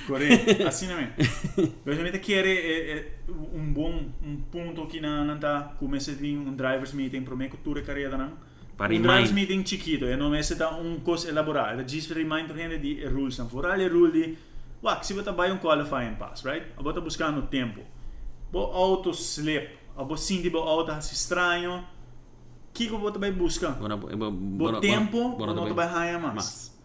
S2: Corretto, assim mesmo. Basicamente chiede é, é, um bom um ponto que na não tá começa a vir um drivers meeting para minha cultura carreira é não.
S1: Para
S2: um
S1: remind.
S2: drivers meeting chiquito, e não é se tá um coisa elaborada, just remind para gente de rules, não foral e rule de, uá, que se você vai um qualifying pass, right? Eu vou tá buscando tempo. Bo auto slip, a bo sim de bo auto assim estranho. Que que eu vou também buscar?
S1: Buona bo
S2: Bo
S1: buona
S2: tempo, bo não vai haya mais.
S1: Mas.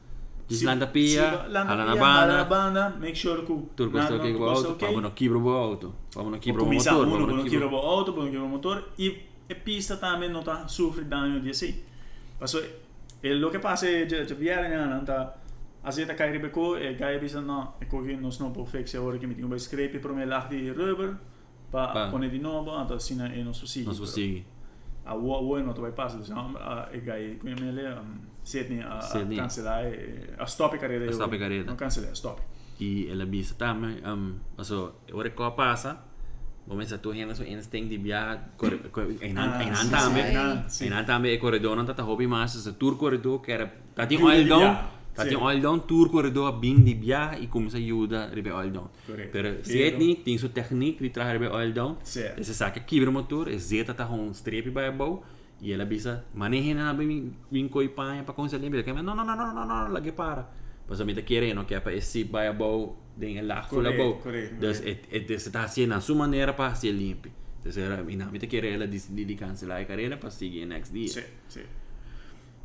S1: Gis landa pia, hala na
S2: alla
S1: banda.
S2: banda, make sure que
S1: Tu costa ok bo auto, pa bo no kibro bo auto. Pa bo no kibro bo
S2: Começar
S1: motor,
S2: uno,
S1: bo
S2: quando
S1: no
S2: quebra o
S1: kibro.
S2: auto, quando quebra o motor e, e pista também não tá sofre dano de assim. Mas e lo que passa cioè, é que já vieram né, não tá a gente cai rebeco e cai bisa não, e cogi não snow por fix agora que me tinha um scrape para me lar de rubber para
S1: Pa.
S2: pôr de novo, então assim é nosso sítio.
S1: Non so sì.
S2: A uo uo não vai passar, então e gai com ele Um, Sydney a
S1: Sydney.
S2: cancelar a stop a carreira.
S1: A stop carreira.
S2: Não cancelar, stop.
S1: Y el visa también, um, also, ahora que pasa, vamos a tu gente su instinct de viajar, en
S2: Ah, sí,
S1: An
S2: sí,
S1: también,
S2: Hainan, sí.
S1: en An también, el corredor no está hobby más, es el tour corredor que era, tá está en
S2: Tour de
S1: all down,
S2: viaje,
S1: está
S2: sí.
S1: en all down, tá tour corredor bien de viaje y comienza a ayudar a all down.
S2: Correcto.
S1: Pero é si
S2: Pero-
S1: es ni, tiene su técnica de trabajar a all down,
S2: Sí.
S1: ese saca quibra motor, es zeta está con un um strip para abajo, y él avisa, manejen a bien coipaña para conseguir, pero que é, no, no, no, no, no, no, la que para. Pues a mí te quieren, ¿no? Que é aparece para abajo, de en la cola
S2: Correcto,
S1: abajo.
S2: correcto,
S1: Entonces, et- et- se está haciendo a su manera para hacer limpio. Entonces, era, y nada, me te quiere, él decidió de cancelar la carrera para seguir el next día.
S2: Sim, sim.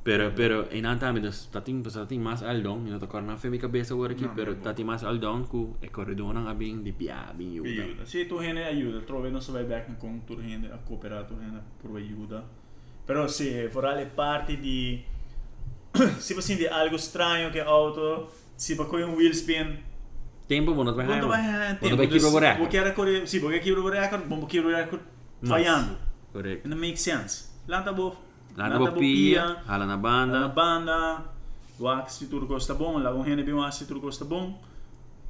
S1: Pero, pero, en nada, entonces, está ting, pues, está ting más al don, y no te acuerdas nada de mi cabeza ahora aquí,
S2: No,
S1: pero
S2: no,
S1: está ting más al don que el corredor no ha bien de pia, bien ayuda.
S2: Ajuda. Se tu rende ajuda, trove não se vai back com tu rende a cooperar tu rende por ajuda. Però se vorrà le parti di [coughs] se você de algo estranho que auto, se vai com um wheel spin,
S1: Tiempo, bueno, te vas
S2: quando vai eh,
S1: a Bueno, te vas a
S2: Vou querer correr, se vou querer correr o recorde, vou querer correr o recorde falhando.
S1: Correcto.
S2: Não make sense. tá Lanta bo
S1: La bopia, jala na
S2: na
S1: tá banda.
S2: tá banda, o Axi Turco está bom, lá o Rene bem o Axi Turco está bom.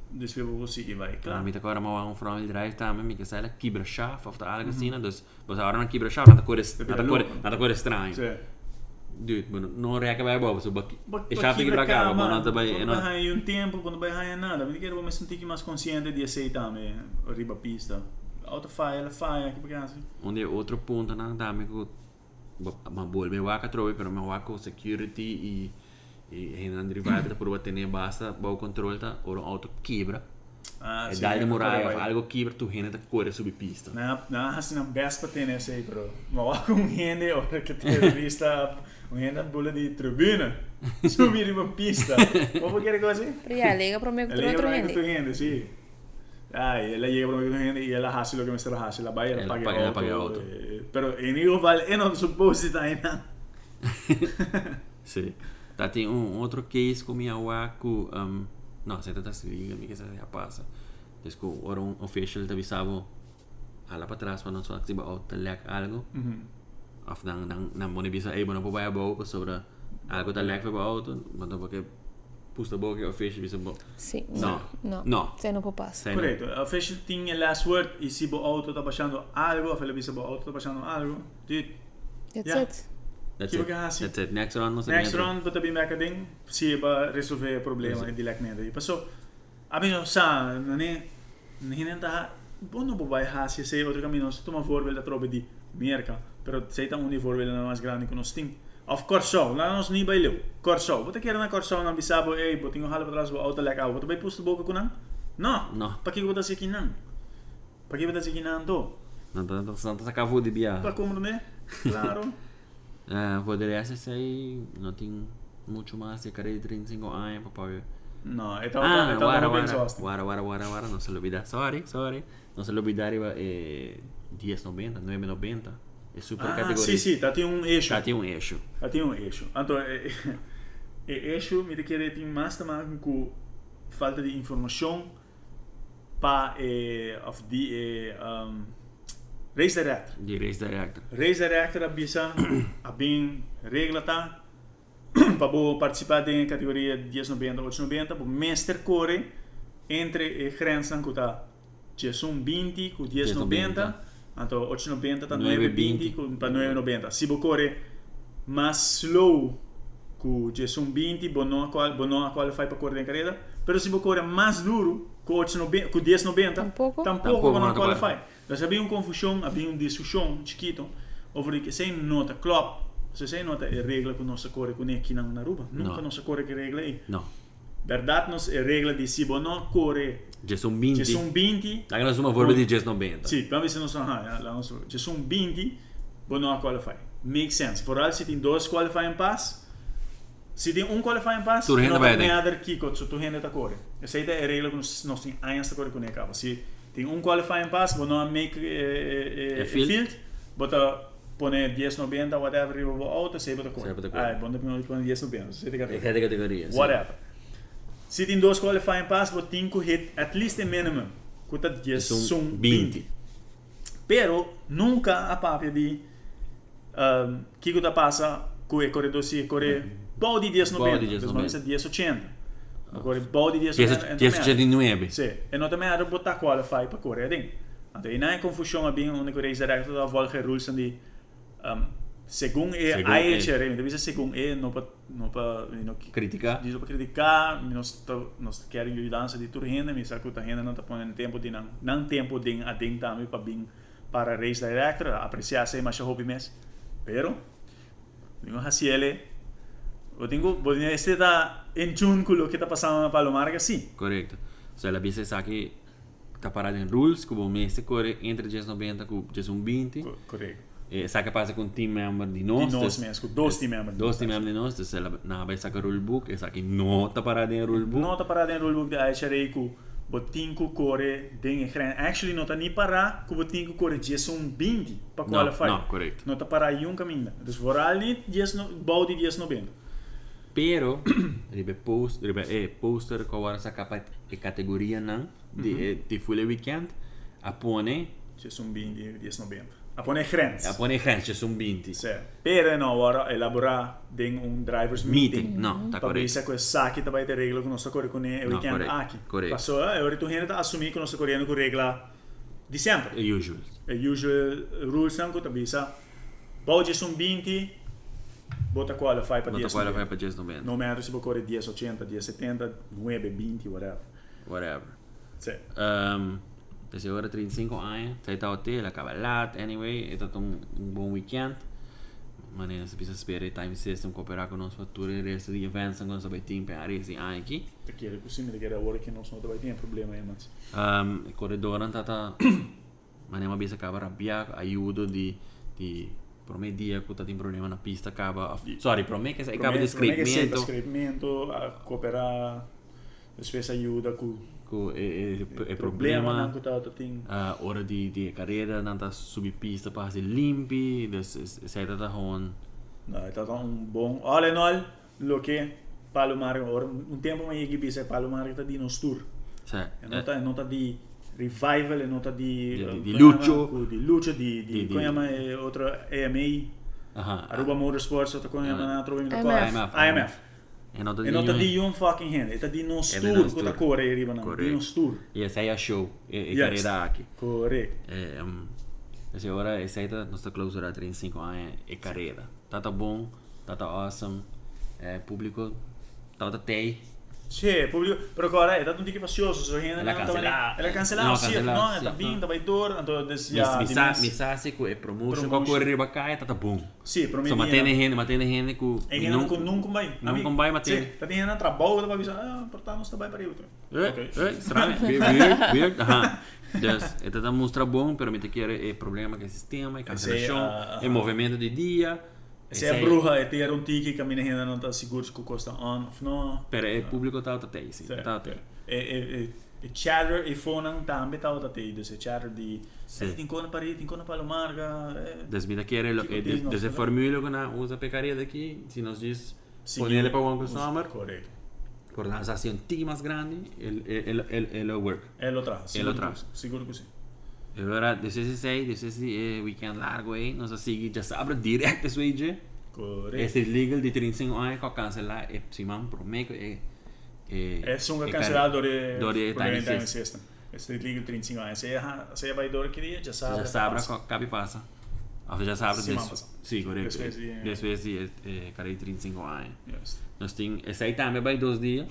S2: Despevo você que vai,
S1: Claro,
S2: claro.
S1: mit akarom a van fram vill drive tammen, mycket sälja kibrashaf av det
S2: Mhm.
S1: allra sina, dus bara har han kibrashaf, han
S2: blir långt.
S1: går strang.
S2: Sim.
S1: Du, men nu räcker vi bara så bara,
S2: Bak-
S1: jag
S2: bak-
S1: köper
S2: kibra
S1: kibrashaf,
S2: cama,
S1: men inte bara,
S2: Quando vai
S1: en
S2: raia um tempo, quando vai raia nada. Porque eu vou me sentir que mais consciente de aceitar me riba pista. Alta faia, ela faia aqui pra assim. casa.
S1: Onde é outro ponto na Dâmico, uma boa, me waka trobe, pero me waka security e e ainda derivada por bater nem basta, bom controle tá, ou auto quebra.
S2: Ah,
S1: É daí demorar, algo quebra tu renda da cor subir pista.
S2: Na, na, assim, na besta tem essa aí, bro. Mas um rende, olha que terrorista, um rende bula de tribuna, subir uma pista. Como que era coisa assim?
S3: Pero ya, é, liga para mí
S2: Ela
S3: con
S2: llega
S3: otro
S2: para mí que tu
S3: gente.
S2: rende, sí. Ay, ella llega para mí que tu rende y ella hace lo que me está la hace, la vaya, la
S1: Ela
S2: paga
S1: paga- ela paga auto.
S2: auto. eh, Pero en igual vale, en otro supuesto, ahí nada.
S1: Sim. Tá, tem um outro case com minha waku. Um, não, você tá se liga, amiga, você já passa. Desco, ora um official te avisava ala para trás para não só activar ou te lec algo. Of dan dan dan mone bisa ei bona pobaya bau ko sobre algo te lec para auto, mas não porque pusta bau que official bisa bau.
S3: Sí.
S1: No.
S3: No.
S1: Eh, No.
S3: Se no puede pasar.
S1: Sei não.
S2: Corretto, a fashion thing è last word e si bo auto sta passando algo, a fare bisa bo auto sta passando algo. Dude,
S3: That's
S2: Yeah.
S3: it.
S1: That's
S2: Keep
S1: it.
S2: it gas.
S1: That's it. Next round não sei.
S2: ah, next round but abbiamo anche ding si ba risolve il problema
S1: Così.
S2: di lack nede. Passo abbiamo sa non è non è da buono bo vai ha si sei altro cammino sto ma vorvel da trobe di merca, però sei tam un vorvel na mas grande con sting. Of course so, na nos ni bai leu. Corso, bota che era na corso na bisabo e botinho hala atrás bo auto lack out. Bota bai pusto boca kunan? No.
S1: No.
S2: Pa que bota se kinan? Pa que bota se kinan do?
S1: Não tá não tá sacavo de bia.
S2: Pa como né? Claro.
S1: Eh, poderia ser aí, não tem muito mais, se cara de 35 anos, papai.
S2: No, e
S1: Ah,
S2: tal, e
S1: guarda,
S2: tal, bem
S1: guarda,
S2: exausto.
S1: guarda, guarda, guarda, guarda, no se lo olvida, sorry, sorry, no se lo olvidar iba eh, 1090, 990, es super
S2: Ah,
S1: categoria.
S2: sim, sim, tá tem um eixo.
S1: Já tem um eixo.
S2: Eu tenho um eixo. Então, é, [laughs] é, é eixo me requer tem mais também com falta de informação para é, eh, of the é, um, race director.
S1: De race director.
S2: Race director avisa a bem regra tá para bo participar da categoria 1090 890, bo mestre corre entre a grenza que tá 1020 com 1090,
S1: 1090.
S2: então 890 tá 920
S1: 920.
S2: com para 990. Se bo corre mais slow com 1020, bo não qual bo não qualify para correr na carreira, pero se bo corre mais duro com 890 com 1090,
S3: Tampouco.
S2: tampoco
S1: Tampouco
S2: não
S1: não qualify.
S2: qualify. Mas havia uma confusão, havia uma discussão chiquito, over que sem nota Klopp, se sem nota é regra que não se corre com aqui na na Aruba, nunca
S1: No.
S2: não se corre que regra aí.
S1: Não.
S2: Verdade nos é regra de se bom não corre,
S1: Jason
S2: se
S1: 20.
S2: são 20,
S1: Agora nós uma verba de Jason 90.
S2: sim, vamos ver se não são, ah, lá não são, se são 20, bom não qualify. Make sense. Vooral se tem dois qualifying pass, se tem um qualifying pass,
S1: Tu renda vai
S2: tem
S1: dentro.
S2: nada aqui, se tu renda tá corre. Essa é a regra que nós nós tem anos tá corre com acaba. Se tem um qualifying pass, vou não make eh, eh,
S1: É
S2: eh,
S1: field.
S2: field, bota pone 10 90 whatever you out, se bota corre.
S1: Sei bota corre.
S2: Ah, bom depois pone 10 90, se te
S1: É cada categoria. sim.
S2: whatever. Se tem dois qualifying pass, vou cinco hit, at least a minimum, custa 10
S1: São
S2: são
S1: 20.
S2: 20. Pero nunca a papia di um, Kiko da passa cui è corre dosi corre body 10
S1: Mhm. Body
S2: 90,
S1: 10
S2: 10
S1: 90.
S2: 90, 10 80.
S1: Ah.
S2: Corre body 10 90.
S1: Jason- Jason 89.
S2: Sì, e non ti mai botta qualify per correre ding. Ante in hai confusione abbiamo un corre diretto da volge rules di um, segun e
S1: Según
S2: hai
S1: e.
S2: cerere, devi se segun e non pa non pa eh, non chi-
S1: Criticar.
S2: Diz para criticar, nós, to- nós queremos ajudança de tua renda, mas a tua renda não está pondo tempo de não, não tempo de adentrar para bem para a race director, apreciar se mais hobby mesmo. pues, Pero, tenho a ele, eu tenho, vou dizer, este está em tune com o que está passando na Palomarga, sim.
S1: Correcto. O sea, la bici está aquí, está parada en rules, como mestre corre entre Jason 90 e Jason 20.
S2: Co- Correto.
S1: E sa che passa con team member di
S2: De
S1: nós.
S2: nós mesmo, com dois team members.
S1: Dois team member di nós, se la na vai sacar rulebook, e sa que não tá parada em rulebook.
S2: Não está parado em rulebook da HRA com botinco core den ecran. Actually, não está nem parar com botinco core Jason Bindi para
S1: No,
S2: qualify.
S1: no, correcto.
S2: Não está parar em um caminho. Dus vooral die 10 no- bouw die 10 novembro.
S1: [clears throat] Pero, ribe post, ribe eh, poster com agora essa capa e categoria não, de, eh, de full weekend, apone,
S2: Jason Bindi 10 novembro. Apone grens.
S1: apone gente, são 20.
S2: Se, per no ora elaborar den un drivers meeting.
S1: Meeting, não, tá
S2: Para
S1: correto.
S2: mim, isso é coisa saque, também tem regra que nós está correndo com o
S1: Não,
S2: weekend
S1: correto,
S2: aqui.
S1: correto.
S2: Passou, eu retornei a assumir que nós está correndo com regra de sempre.
S1: É usual.
S2: a usual rules lang ko tabisa. Bogey sum 20, bota qualify pa
S1: Não
S2: 10.
S1: tá qualified para Jason 90.
S2: No matter se bocore 10, 80, 10, 70, 9, 20, whatever. Cioè,
S1: Whatever.
S2: Sì.
S1: Um, Te seguro 35 años. Te está hotel, acaba laat. Anyway, está un, un bom weekend. Wanneer ze precies spelen, time system, cooperatie con ons wat toeren, rest die events, en dan zijn we team per jaar is die aan je.
S2: Perché era così, mi era ora che non sono trovato in problema, eh, mazzo.
S1: Um, il corridore [coughs] tata ma ne abbiamo cava rabbia aiuto di di per me dia che tata in problema una pista cava of- sorry per me che sei cava di
S2: Sempre
S1: scrivimento
S2: scrivimento, a cooperare, spesso aiuta, cu.
S1: cu- e, e, e
S2: non
S1: problema
S2: ho trovato team.
S1: uh, ora di di carriera tata subi pista passi limpi dus is- sei tata gewoon
S2: No, è stato un buon... All in all, lo che Palomar, ora, un tempo mi hai chiesto Palomar sta di nostur.
S1: cioè
S2: È
S1: eh,
S2: nota, è nota di revival, è nota di...
S1: Di- di- di
S2: come
S1: Lucio.
S2: chiama? Cu- Di Lucio, di... di,
S1: Di- di- Ah.
S2: come chiama, eh, oltre AMA,
S1: aha,
S2: Aruba Motorsports, oltre come chiama,
S1: Ah.
S2: un altro mi
S3: IMF.
S2: ricordo.
S1: IMF.
S2: IMF.
S1: e nota
S2: È nota di
S1: di
S2: Yun fucking hand, è di
S1: È di
S2: nostur,
S1: nostur.
S2: quota core arrivano, di
S1: Corretto.
S2: nostur.
S1: e sei a show e, e
S2: Yes.
S1: carriera anche
S2: Corretto.
S1: É, um, assim, agora essa aí tá nossa clausura 35 anos e carreira. Tá tá bom, tá tá awesome, é público, tá tá tei.
S2: Sì, pubblico, però ora è stato un tic fastidioso, so che
S1: L'ha
S2: non andava-
S1: cancellata.
S2: l'ha cancellato,
S1: No,
S2: sì,
S1: cancellata,
S2: no, è
S1: sì,
S2: stato
S1: no.
S2: vinto, vai torno, tanto adesso
S1: Mi,
S2: già
S1: mi, sa,
S2: dimesso.
S1: mi sa se é promotion,
S2: Promotion.
S1: qual correr bacai, tá tá bom.
S2: Sì, però mi
S1: Só
S2: viene-
S1: matene rende, matene rende com...
S2: E che non, con, non combai.
S1: non combai, ma te-
S2: Sì, tadi un'altra bolla, poi bisogna, ah, portiamo sta bai per aiuto.
S1: Eh, eh,
S2: [laughs]
S1: strano, weird, weird, weird, aha. Yes, e tá tá mostra bom, pero me te quer é problema que sistema, é
S2: ah,
S1: cancelação, é
S2: ah.
S1: movimento de dia.
S2: Se è bruja e ti era un tic che mi ne non sta sicuro se costa on o no.
S1: Pero é público tá tá tei, sim,
S2: Sì.
S1: tá tei.
S2: E, e, e, e chatter e fonan tambe tavo da te, se chatter di...
S1: Sì.
S2: Eh, ti incona pari, ti incona palomarga, eh,
S1: Deci mi chiede lo,
S2: Tipo
S1: e
S2: Disney,
S1: de, de se
S2: no?
S1: formule con una usa pe carriera qui, si nos dis
S2: sì,
S1: ponerle per un
S2: giusto,
S1: summer,
S2: Corretto.
S1: per una sensazione ti más grande, el el el el work.
S2: E lo tra, sicuro
S1: tra.
S2: così, Sicuro così.
S1: E ora de se sei, de se si weekend largo e non so si già sabra direct su IG. E
S2: Corretto.
S1: se legal di 35 anni co cancella e eh, si man pro me eh, e e
S2: E sono cancellato le...
S1: dore time
S2: time
S1: six.
S2: system. E Street League 35 anni. Se, ah, se vai d'ora che lì, già sabra.
S1: Già sabra
S2: passa.
S1: co capi Ah, passa. Of già sabra
S2: Sì,
S1: de
S2: ma passa.
S1: sì, corretto.
S2: Despesi, eh.
S1: De se si e carriera 35 anni.
S2: Yes.
S1: Nós tem essa aí também vai dois dias.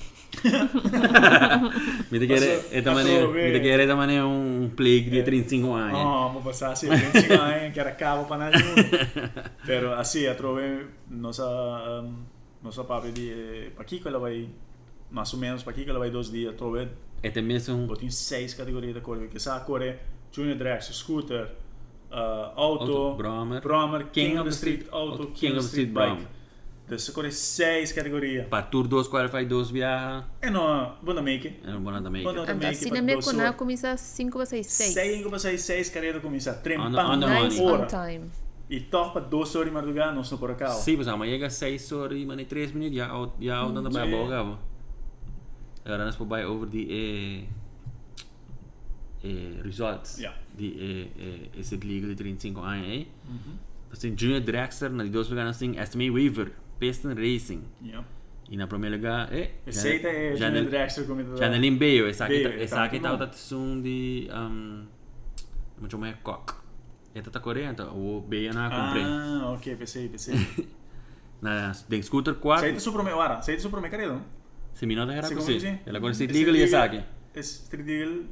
S1: me de querer
S2: Passou-
S1: é da
S2: passou
S1: maneira,
S2: bem.
S1: me de querer é da maneira um plague de
S2: É.
S1: 35 anos.
S2: No, ma passava sì, 25 anni che era cavo panaggiuno. Però ah sì, a trovare, non so, um, non so proprio di... eh, Per chi quella vai, ma su meno, per chi quella vai due giorni, a trovare,
S1: É também são
S2: botti in 6 categorie da correre, che sa correre Junior Drax, Scooter, eh, Auto,
S1: Auto, Brommer,
S2: Brommer, King, of the Street, Auto, King of the Street, Bike.
S1: Brommer.
S2: Adesso corre 6 categorie.
S1: para tour dois qualify dois viaja.
S2: E no, buona É, make.
S1: É uma boa também.
S2: Boa noite.
S3: Então,
S2: também que
S3: se
S2: pra
S3: na minha
S2: doce-
S3: conar começa 5 para 6, 6.
S2: 6 in come 6, 6 carriere comincia, 3
S1: Ando- ando
S3: Nice
S1: Ora.
S3: on time.
S2: Il top a 2 ore di madrugada non sono por acá.
S1: Sim, mas amanhã chega 6 horas e mano 3 minutos já out já out anda bem
S2: Sim.
S1: boa, gabo. Agora nós por over de eh eh results.
S2: Ja.
S1: De eh eh esse liga de 35 anos aí. Nós tem eh. Junior Dragster, na de dois lugar nós tem Estimate Weaver, Piston Racing.
S2: Yeah.
S1: E na primeiro lugar é
S2: E seita è Janet Drexler come da...
S1: Janelin Beyo, essa aqui
S2: Beyo,
S1: essa aqui tá
S2: tanto
S1: outra som de um muito mais cock. Eta tá correndo, o Beyo na comprei.
S2: Ah, ok,
S1: [laughs]
S2: pensei, pensei.
S1: Na de scooter 4.
S2: Seita su prome, guarda, seita su prome credo.
S1: Se mi nota era
S2: Secondo
S1: così.
S2: te?
S1: E la corsa di
S2: E
S1: Tigre li
S2: Tigre-
S1: sa che.
S2: E Street Eagle...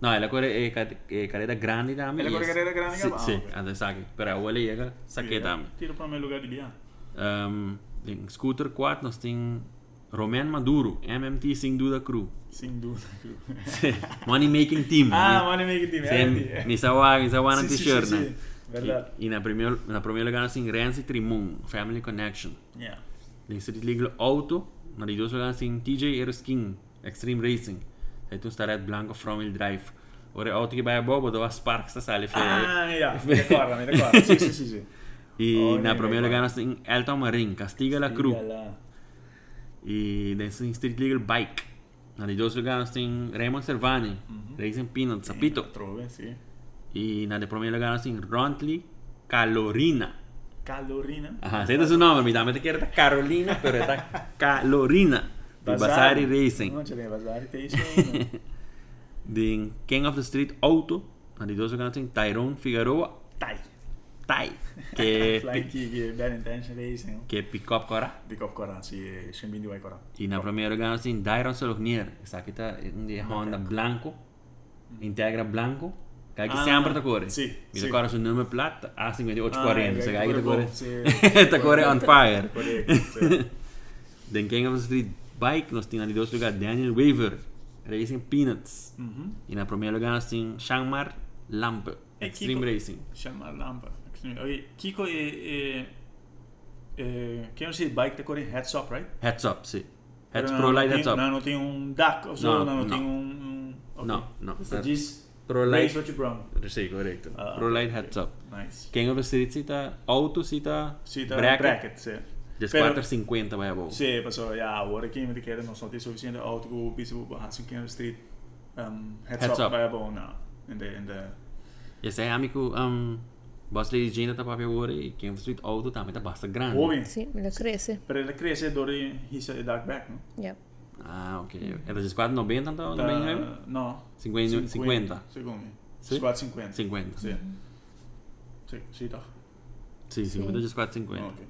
S1: No, e la corsa è, ca- è carrera grande da me.
S2: E la corre carrera grande
S1: Sì,
S2: da me? Ah,
S1: sì,
S2: ok.
S1: adesso sa che. Però vuole llega, sa che da me.
S2: Tiro prome il lugar di là.
S1: Ehm, in scooter 4 nos tem Roman Maduro, MMT Sing Duda Crew. [laughs]
S2: Sin duda. [laughs]
S1: Money making team.
S2: ah, ma ne make team, eh, di-
S1: Sem,
S2: eh.
S1: mi sa wa, mi sa wa na
S2: Sì, sì,
S1: t-shirt.
S2: sì,
S1: né?
S2: sì. Verdad.
S1: E, e na primeiro, na primeiro lugar nós tem Renzi Trimun, Family Connection.
S2: Yeah.
S1: Tem Street Legal Auto, na de dois lugar tem TJ Erskine, Extreme Racing. Aí tu estará Blanco From Wheel Drive. Ora, auto que vai a bobo, dou a Sparks da sala.
S2: Ah,
S1: [laughs]
S2: yeah, mi ricordo, mi ricordo. Sì, sì, sì, sì.
S1: E
S2: Oh,
S1: na
S2: ne-
S1: primeira
S2: ne-
S1: lugar nós tem Elton Marin, Castiga La Cruz.
S2: Bella.
S1: E daí tem Street Legal Bike. Na de dois lugar nós tem Raymond Servani,
S2: Mhm.
S1: Racing Peanuts, Sapito.
S2: Trove, sì.
S1: E na de primeiro lugar nós tem Rontley Calorina.
S2: Calorina.
S1: Ajá, sei su nome, mi dame te quiere da Carolina, pero está Calorina. De Basari Racing.
S2: Non ce ne Basari, te sono.
S1: [laughs] de King of the Street Auto, na de dois lugares tem Tyrone Figueroa
S2: Dai.
S1: Tai, que
S2: Flying Kick, Bad Intention Racing.
S1: que é pick-up cora.
S2: Pick up Koran, sì, eh, Shenbin di Wai Koran.
S1: E na primeira lugar tem Dairon Solognier, essa aqui tá um de Honda Blanco, Integra branco. Kijk,
S2: Mm. Ah,
S1: sempre te corre.
S2: sim,
S1: Mi
S2: sim.
S1: ricordo sul numero plat A5840.
S2: Ah,
S1: Ze
S2: kijk,
S1: kijken te
S2: corre
S1: corre.
S2: bom, sim.
S1: [laughs] Te corre on fire.
S2: Correto,
S1: [laughs]
S2: sim.
S1: Den King of the Street Bike, nós tínhamos ali dois lugares, Daniel Weaver, Racing Peanuts.
S2: Uhum.
S1: E na primeira lugar nós tínhamos Shangmar Lamp, É
S2: É
S1: Extreme
S2: Equipo.
S1: Racing.
S2: Chamar lampa. Okay. Kiko e... e é, quem você bike tá correndo heads up, right?
S1: Heads up, sim. Heads
S2: Não,
S1: Pro
S2: não
S1: Light
S2: tem-
S1: Heads Up.
S2: Não, não tem um DAC, ou
S1: Não,
S2: só, não, não,
S1: não.
S2: tem um... um ok.
S1: Não, não.
S2: Você
S1: É
S2: diz
S1: Pro
S2: Race
S1: Light.
S2: What You Brown.
S1: Sim, correto.
S2: Ah,
S1: Pro Light
S2: ok,
S1: Heads Up.
S2: Nice.
S1: King of the Street cita auto, cita,
S2: Sim, tá bracket.
S1: bracket.
S2: bracket, sim.
S1: Des
S2: Pero-
S1: 450 vai é abaixo.
S2: Sim, pessoal, yeah, agora quem me quer não só tem suficiente auto que o bispo Hansen Kenner Street um, heads,
S1: Heads
S2: up,
S1: up.
S2: vai bom não. In the, in the,
S1: E se é amigo, um, Boss Lady Jane tá para agora e King of the Street auto também tá basta grande.
S2: Ouvem?
S3: Sim, ele cresce.
S2: Para ele crescer, dori hisa e dark back, não?
S3: Yeah.
S1: Ah, ok. Era dos 490 então,
S2: Tá.
S1: também, né?
S2: não.
S1: 50. 50.
S2: Segundo.
S1: Sim?
S2: 450.
S1: 50.
S2: Sim. Sim, sim, tá.
S1: Sim, é 50 dos 450.
S2: Ok.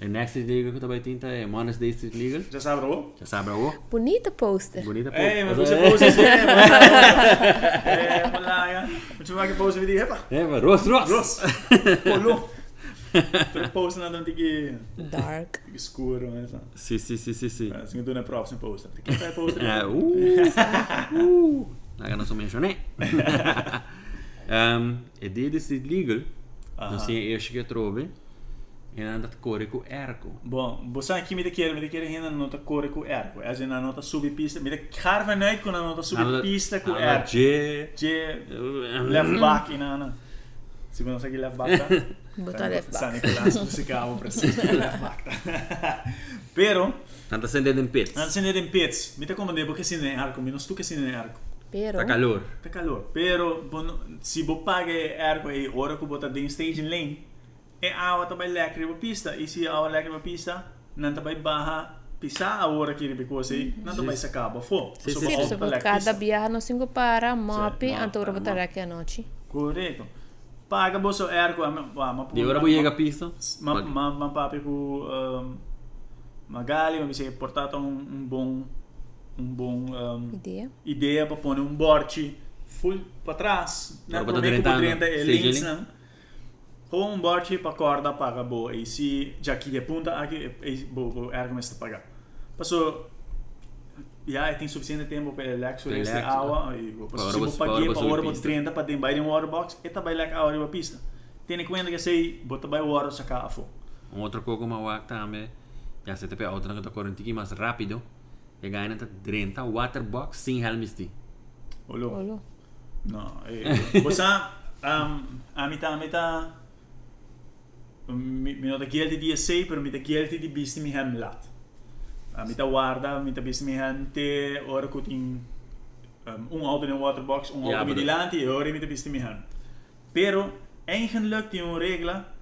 S1: A É next liga que eu também tinta é Manas Day Street League.
S2: Já sabe, ô?
S1: Já sabe a o?
S3: Bonita poster.
S1: Bonita pô. é-
S2: Ei, mas
S1: Essa-
S2: você pôs esse. É, malaga. Muito mais que pôs o vídeo, epa.
S1: [laughs] É, mas Ross, Ross! [laughs]
S2: Grosso. Colou. Tu pôs nada, não tem que.
S3: Dark.
S2: tem que escuro, né? sabe?
S1: Sim, sim, sim, sim, sim.
S2: Assim que tu não é próximo, posta. Tem que estar posta.
S1: É, uh,
S2: [laughs]
S1: uh. Naga não sou mencionei. um, e det är det Street League. Não sei, eu cheguei a É trove. E anda a correr com Erco.
S2: Bom, você aqui me quer, me quer ainda na nota core com erco. É assim, na nota subpista. Me quer vai noite com a nota subpista com um
S1: Anda
S2: erco.
S1: G.
S2: De left back, não, não. Se você aqui left back, tá?
S3: [laughs] Botar left back.
S2: San Nicolás, você cava pra cima.
S3: [laughs]
S2: Left back, tá? [laughs] Pero,
S1: Anda acendendo em pits.
S2: antes de ir em pits, me te comandei, porque se não é arco, menos tu que se não é arco.
S3: Pero.
S1: Tá calor.
S2: Tá calor. Pero, bon, se você paga ergo e hora que botar dentro stage lane, é a hora também leque pra pista. E se a hora leque pra pista, não também barra pisar a hora que ele picou aí, não também se acaba. Fô,
S1: Sim,
S2: só
S1: sim, sim.
S2: uma hora
S3: Sim,
S2: pra
S3: sobre
S2: leque
S3: cada
S2: pista.
S3: viagem nós cinco para mop,
S1: Certo,
S3: antes eu
S1: mop,
S3: botar
S1: mop.
S3: aqui à noite.
S2: Correto. Paga bolso ergo, mas...
S1: De hora vou chegar a pista.
S2: Ma, ma, ma papi ku um, magali, ma mi sei portato un, un buon un buon um,
S3: Ideia.
S2: idea para pôr um borte full para trás, né?
S1: Para
S2: Para
S1: botar
S2: meio que por
S1: direitando.
S2: dentro é
S1: Sim,
S2: links,
S1: sim.
S2: né? Com um borte para corda paga boa. E se já que é punta, aqui é boa, é argumento para pagar. Passou. Já tem suficiente tempo para ele
S1: Pra
S2: actually
S1: relax, né?
S2: esta aula. E
S1: Para
S2: se
S1: hora
S2: você
S1: você- para
S2: pagar
S1: hora
S2: para
S1: você
S2: hora para
S1: pista.
S2: 30 para dentro vai de um waterbox, e também like a hora para pista. Tem em conta que sei, bota bem o hora sacar a fogo.
S1: Um outro coco mawak também. tá Ja, se tepe auto na corrente um mais rápido. É E ganha até 30 waterbox sem helmisti.
S2: Olhou.
S3: Olô.
S2: No,
S1: [laughs]
S2: eh, basta um, a metà, a metà um, mi, mi nota geld di essay per metà geld di bisti mi hem lat. A metà guarda, metà bisti mi hem te ora cut in um, un auto in waterbox, un
S1: Ja,
S2: auto mi
S1: bedoel-
S2: dilanti e ora metà bisti mi hem. Pero eigenlijk ti un regla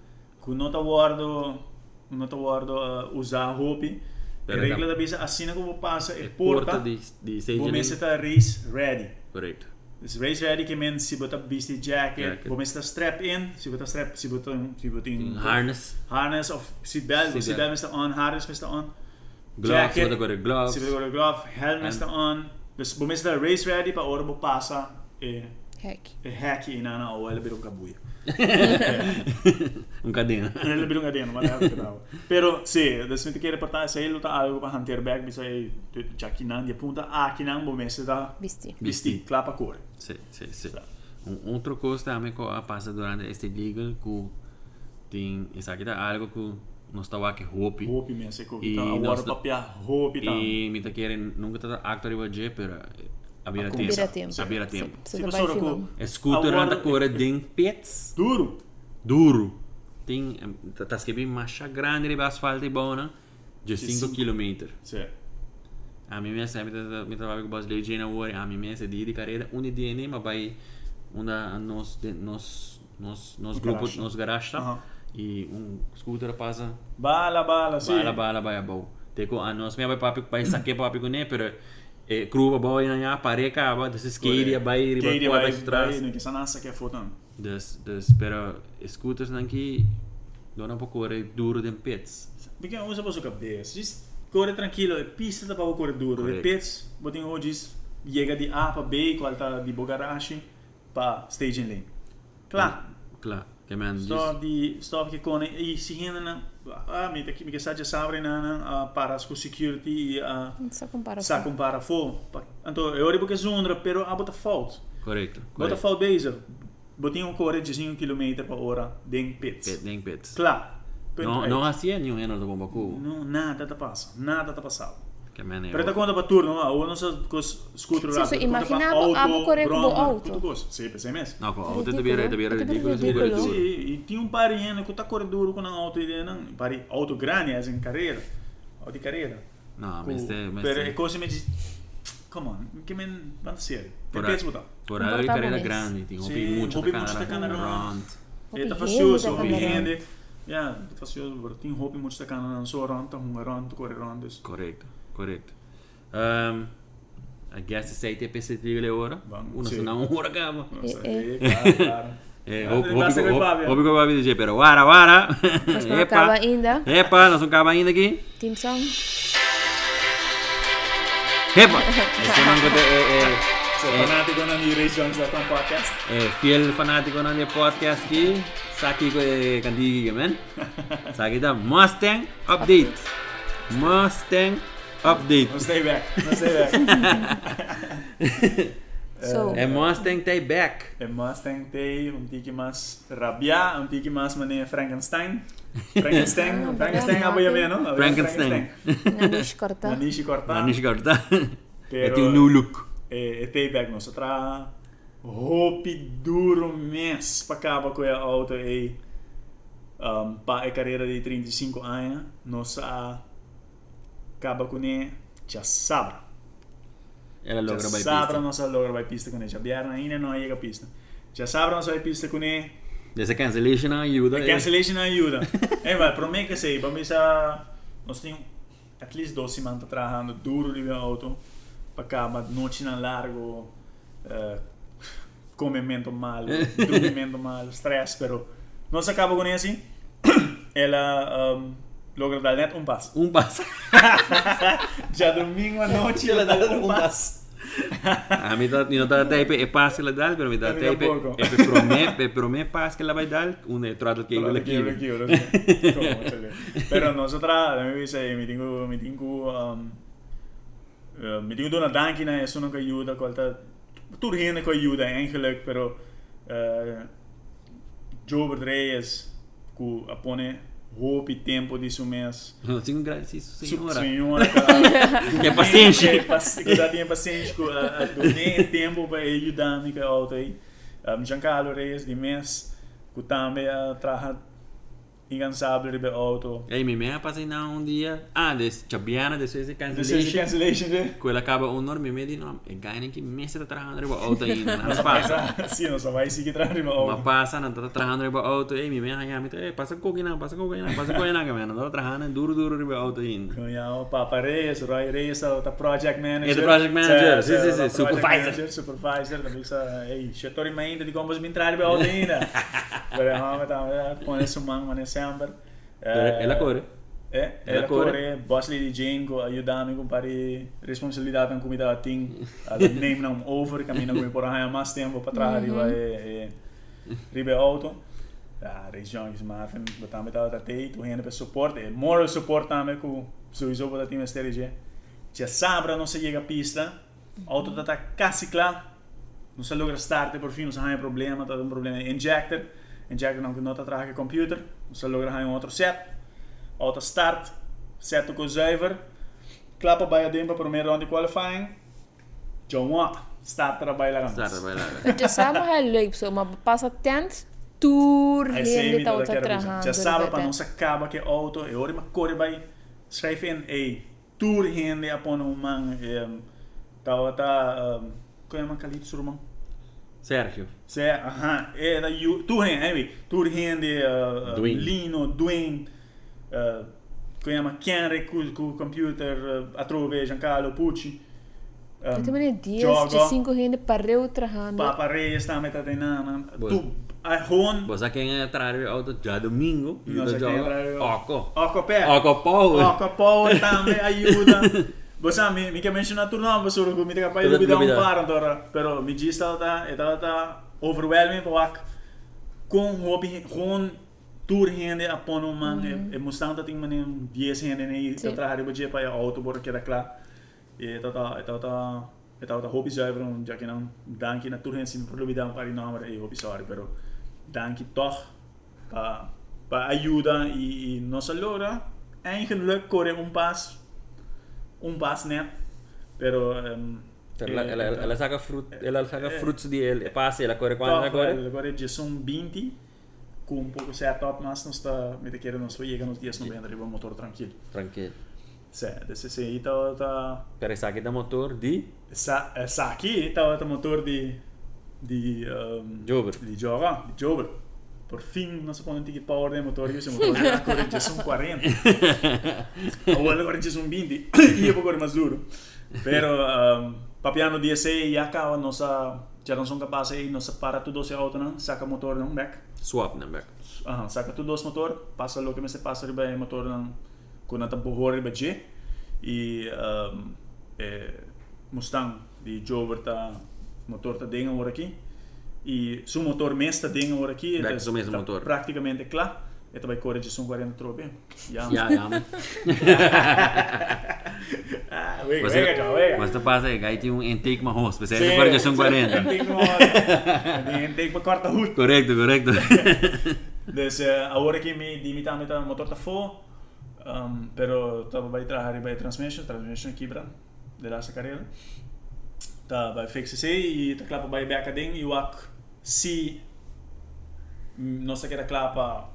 S2: cu nota guardo nota guardo uh, usa hopi.
S1: Ja, dat
S2: Regla
S1: kan.
S2: da bisa assina come passa e
S1: E
S2: É porta,
S1: É porta
S2: porta
S1: de, de
S2: come se
S1: seja.
S2: ta race ready.
S1: Correto.
S2: Dus race ready que men si bota beastie jacket,
S1: Jacket.
S2: bota esta strap in, si bota strap, si bota um, si bota um
S1: Um harness.
S2: harness of seat belt,
S1: Seat
S2: seat belt mesta on, harness mesta on,
S1: Gloves.
S2: Jacket.
S1: Wat agora gloves.
S2: si bota glove, helmet mesta on. Dus bota esta race ready pa ora bo passa e
S3: Hack.
S2: e hack in ana o ele birung kabuya. [laughs]
S1: um cadena.
S2: Ele birung adeno, mas é bravo. Pero se, das me te quer portar se ele luta algo pa hunter back, bisa e jaquinan di punta a kinan bo mesta da
S3: Visti.
S2: bisti, clapa core.
S1: Sim, sim, sim. Um outro coisa também que ah, passa durante este legal que tem. Isso aqui tá algo que nós estamos aqui roupa.
S2: Hope mesa ko.
S1: E
S2: Então
S1: nós
S2: agora
S1: da-
S2: pa pia hope tam.
S1: E me tá querendo nunca tá actor e budget para abrir a
S3: Vira
S1: tempo.
S3: tempo.
S1: Abrir a tempo.
S3: Sim,
S2: Tipo,
S3: você vai
S2: só no cu.
S3: filmando.
S1: É scooter
S2: Agora-
S1: anda cor de pets.
S2: Duro.
S1: duro. Tem, tá, tá escrevendo marcha grande de asfalto e bona de 5
S2: cinco.
S1: km.
S2: Sim.
S1: A mim me sabe, me trabalho com o brasileiro de hora, a mim me sabe de carreira, um dia nem, mas vai uma nos de- nos nos nos grupo
S2: Garage.
S1: nos garage tá?
S2: Aham.
S1: e um scooter passa
S2: Bala, bala, sim.
S1: bala bala vai bom. Teco a nós me vai papi vai saque papi com né, pero é cruba boa e na pareca, vai desse skate vai
S2: Queria
S1: riba
S2: vai
S1: vai trás.
S2: vai, não que essa nasa que é foto. não.
S1: Dus, dus pero scooters dan ki dona po kore duro den pits.
S2: Porque usa para sua cabeça. Diz, corre tranquilo, é pista da para correr duro.
S1: Correto.
S2: Repetes, botem hoje chega de A para B, qual tá de Bogarashi para Staging Lane. Claro.
S1: Klar, kaj meni
S2: Stop di stop che con i sigena ah mi che mi che sa già sabre né, nana para scu security a
S3: Não só compara. assim.
S2: sa compara fo anto e ora perché zondra però a bota fault
S1: korektno.
S2: bota fault base botin un core 5 km per ora den pits
S1: Pet, pet.
S2: cla eh,
S1: No, no, a si je ni eno, da bom baku.
S2: no nada ta passa nada ta passava
S1: Kaj meni je.
S2: Pero tá conta para turno, ah, ou não sei cos scooter
S3: Sì,
S2: lá.
S3: sì, immaginavo abo corre- bo- auto.
S2: Tudo gosto, sempre, sempre mesmo.
S1: No, ko avto
S3: Ridicolo.
S1: da bi re, da bi re
S3: Avete
S1: ridikul, da bi
S3: ridicolo.
S1: re
S2: Sì,
S1: dur.
S2: e tinha um parinho que tá corredor com um auto ele não, pari auto eh, grande as em carreira, ou de carreira.
S1: No,
S2: Com-
S1: Ah, meste,
S2: Pero é
S1: meste.
S2: coisa me diz, come on, que men van ser. Tem
S1: Ora-
S2: peso botar.
S1: Pora
S3: Comportamo
S1: je karena
S3: res.
S1: grandi, ti hobi
S2: Sì,
S1: mucho
S2: hobi
S1: da
S2: mucho da
S1: kamera.
S2: camera.
S1: Rond.
S2: É tá
S3: Hopi
S2: facioso,
S3: rende,
S2: hopi
S1: hopi
S2: rende. Ja, tá facioso, bro. Tem hopi muito da cana não só ronta, um ronta, corre ronta.
S1: Correct, correct. Um, I guess se te pese ti le ora.
S2: Vam-
S1: Uno
S2: sì.
S1: se na ora kama.
S2: Nossa,
S3: Eh,
S2: é claro, claro.
S1: [laughs] Eh,
S2: Ah,
S1: hobi
S2: deve essere
S1: hobi
S2: Fabio.
S1: hobi ko babi dice, pero wara wara. [laughs]
S3: Mas não acaba ainda.
S1: Epa, nós não acaba ainda aqui.
S3: Team Song.
S1: Epa. Esse mango de, é, é,
S2: Sou fanático na minha região da Tampa Podcast.
S1: Eh, fiel fanático de podcast aquí, Saki eh, Kandigi,
S2: [laughs]
S1: man. [laughs] Saki da Mustang Update. Mustang Update.
S2: [laughs] Não stay back, não stay back.
S1: [laughs]
S3: So,
S1: E Mustang Tay Back.
S2: É Mustang Tay, um tique mais rabia, um tique mais mané Frankenstein. Frankenstein,
S3: Ah,
S2: Frankenstein,
S3: bravo.
S2: apoia bem, não?
S1: Frankenstein.
S3: Nanish corta.
S2: Manishi
S1: [laughs]
S2: cortar.
S1: Manish Garta.
S2: [laughs] Pero-
S1: É um new look.
S2: É, é Tay back, nossa, tra. Roupe duro mês para acabar com a auto aí. Um, para a carreira de 35 anos, nossa acaba com ele, já sabe.
S1: Ela logra
S2: já
S1: by
S2: sabe
S1: pista.
S2: nossa logra vai pista com ele, já vieram ainda não chega a pista. Já sabe nossa vai pista com ele.
S1: Dessa cancellation ajuda.
S2: The
S1: eh.
S2: cancellation ajuda. Ei, mas para mim que sei, para mim já nós temos at least duas semanas trabalhando duro de minha auto para cá, mas noite na largo, uh, comimento mal, dormimento mal, stress, pero nós acaba com assim, ela um, logra dar net um passo.
S1: Um
S2: [laughs]
S1: passo.
S2: Já domingo à noite ela dá um passo.
S1: A mim dá- não dá tape, é passo que ela dá, mas me dá
S2: Daqui a
S1: tape.
S2: pouco.
S1: É pro me, é pro me passo que ela vai dar, um é troado que ele
S2: Aquí,
S1: aqui.
S2: aquí,
S1: [laughs]
S2: aquí. [laughs] Como, chale. Pero nosotras, a mí me dice, me tengo, me tengo, um, eh, me tengo una máquina, eso no que ayuda, cualta, tu rende que ayuda, eigenlijk, pero uh, yo Reyes, que uh, pone hope y tiempo de su mes.
S1: Não tenho graça isso,
S2: Su-
S1: senhora.
S2: Senhora, cara.
S1: [laughs] Que é paciente.
S2: Que, paci- que dá tempo paciente, que a, a doné tempo para ajudar me que alta aí. Um, Giancarlo Reis de Mês, que também uh, trabalha incansável de auto.
S1: Ei, mi mea pasa na un dia. Ah, des chabiana, des ese
S2: This is the
S1: cancellation.
S2: cancellation,
S1: [laughs]
S2: né?
S1: Quella acaba un norme medi no, e gaine che mi sta trabajando riba auto in una pasa.
S2: Mas, ah, Sim, nós só vai seguir trabalhando de
S1: Ma
S2: auto.
S1: pasa, non sta trabajando riba auto, e mi mea ya mi te pasa coquina, pasa coquina, passa coquina che me non sta trabajando duro duro riba auto in.
S2: Cunhal, Papa Reis, Roy Reis, tá tá project manager.
S1: É do project manager, sim, sim, sim,
S2: tá project
S1: supervisor.
S2: manager, supervisor, também sa, ei, setor ainda de como entrar de
S1: [laughs]
S2: volta ainda. Pero vamos, tá, põe esse mango, mano, sempre. Eh,
S1: E la core.
S2: É,
S1: Ela
S2: ela
S1: corre.
S2: corre, boss lady Jane, co- ajudar-me com pari responsabilidade com comida ting, a name não over, caminho com por aí mais tempo para trás, riba é riba é Ah, auto. A região que Marvin, botar me tava até tu rende para suporte, é moral support também com suízo para time STRG. Já sabra não se chega à pista, auto tá tá quase claro. Não se logra start por fim, não se há problema, tá um problema injector, injector não que não tá atrás do computer, não se logra há um outro set. Auto start, zet ook zuiver. Klappen bij het dimpen, probeer dan die qualifying. Jongen, start er bij langs.
S1: Sarà bella.
S3: Já sabe é leip so, mas passa tanto tour
S2: Hij
S3: rende tá
S2: zei dat ik
S3: outra
S2: er
S3: trahando. é
S2: Já sabe para nossa caba que auto e ora corre vai schrijf in a tour hende upon um man um, tá tá um, como é uma calito sur man
S1: Sergio.
S2: Se, aha, eh, era ju, tu hen, anyway, tu hen de uh, uh,
S1: Dwayne.
S2: Lino, Dwayne, uh, ko jama Kenry, ku, ku computer, uh, atrove Giancarlo Pucci,
S3: Eu
S2: um,
S3: também é dias de
S2: Jogo.
S3: cinco rende para eu trahando.
S2: Papa Reyes, tá metatena,
S1: Boa.
S2: tu, a Ron,
S1: Bosa che è entrare auto già domingo, io
S2: Nossa,
S1: da
S2: che entrare-
S1: gioco. Oco.
S2: Oco Pé,
S1: Oco power.
S2: Oco Paul também ajuda, Basta, mi, mi ka mention na turnawan, basta rin kumita ka pa yung
S4: Tulad
S2: lubida
S4: lubida.
S2: ang parang tora. Pero mi G stala ta, etala ta, overwhelming pa wak. Kung hobi, kung tour hende apon o man, e mustang ta ting man yung 10 hende na yung
S3: Sí.
S2: tatrahari ba jepa, yung auto bor kira kla. E etala ta, etala ta, etala ta hobi driver, um, jaki na, danki na tour hende, sin lubida ang pari namara, e hobi sorry, pero danki toch, pa, pa ayuda, i, i no salora, eigenlijk kore un pas, un pas net. Pero ehm
S4: La, la, la, la saca frut, la saca fruits di el passe la corre quando la
S2: top, eh,
S4: corre.
S2: agora é Jason 20 com um pouco se top, mas não está me quer não sou chega nos dias não vem arriba o motor tranquilo.
S4: Tranquillo.
S2: Se desse se ita ta
S4: Per sacchi da motor di
S2: sa eh, sa aqui ita ta motor de de ehm,
S4: Jover.
S2: de joga, de joga. Por fim, não se põe que power de motor, esse motor
S4: [laughs]
S2: era agora Jason 40. Ou agora Jason [coughs] 20 e eu vou agora mais duro. Pero um, papiano 16 e acaba nossa já não são capazes aí, nossa para tudo se auto, não? Saca motor não back.
S4: swap
S1: né,
S4: number.
S2: Aha, saca tu dos motor, passa lo que me se passa riba e motor ng kuna ta bohor riba G i um, eh, Mustang di Jover ta eh, motor ta denga ora aqui e su motor mesta denga ora aqui
S4: Beh, su mesmo motor.
S2: praticamente cla e ta vai correre sono 40 trobe ja
S1: Ja, ja.
S2: [laughs]
S1: man.
S2: ah vega
S1: Mas,
S2: vega ja, vega
S1: mas tu passa aí, aí tem um intake marrom,
S2: Sì,
S1: especialmente agora já são
S2: sì, [laughs]
S1: 40.
S2: tem que uma- tem- tem que corta hut
S1: Correcto, correcto.
S2: [laughs] Dus eh, ahora que me dimita met el motor tafo, um, pero estaba para trabajar para transmission, transmission quebra de la carrera. Estaba para fixarse y te clapa para back again y wak si no se queda clapa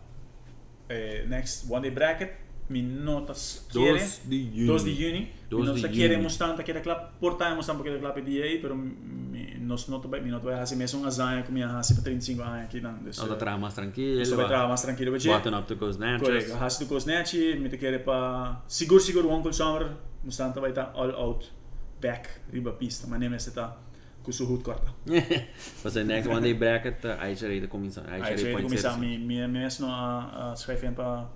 S2: eh, next one day bracket, mi notas quiere
S4: di juni.
S2: 2 de juni.
S1: Dos
S2: Dos
S1: de
S2: de quiere
S1: juni.
S2: mostrar que era clap, portar mostrar porque era clap de aí, pero mi- nós não vai, não vai fazer mesmo umas anha como ia fazer para 35 anha aqui não. Desse,
S1: Não, tá tra mais tranquilo.
S2: Isso vai trabalhar mais tranquilo para ti.
S1: Bottom up to goes
S2: Correct.
S1: natural.
S2: Haas de Kozneci, met de keren pa sigur sigur onkel summer, mostan ta baita all out back riba pista, maar neem ta kusu hut korta.
S1: [laughs] Mas aí, next one day bracket, aí já aí começar. Aí já
S2: Ai, je
S1: aí
S2: weet
S1: pode
S2: hoe
S1: ser.
S2: mi mi mi mesno a a schrijf en pa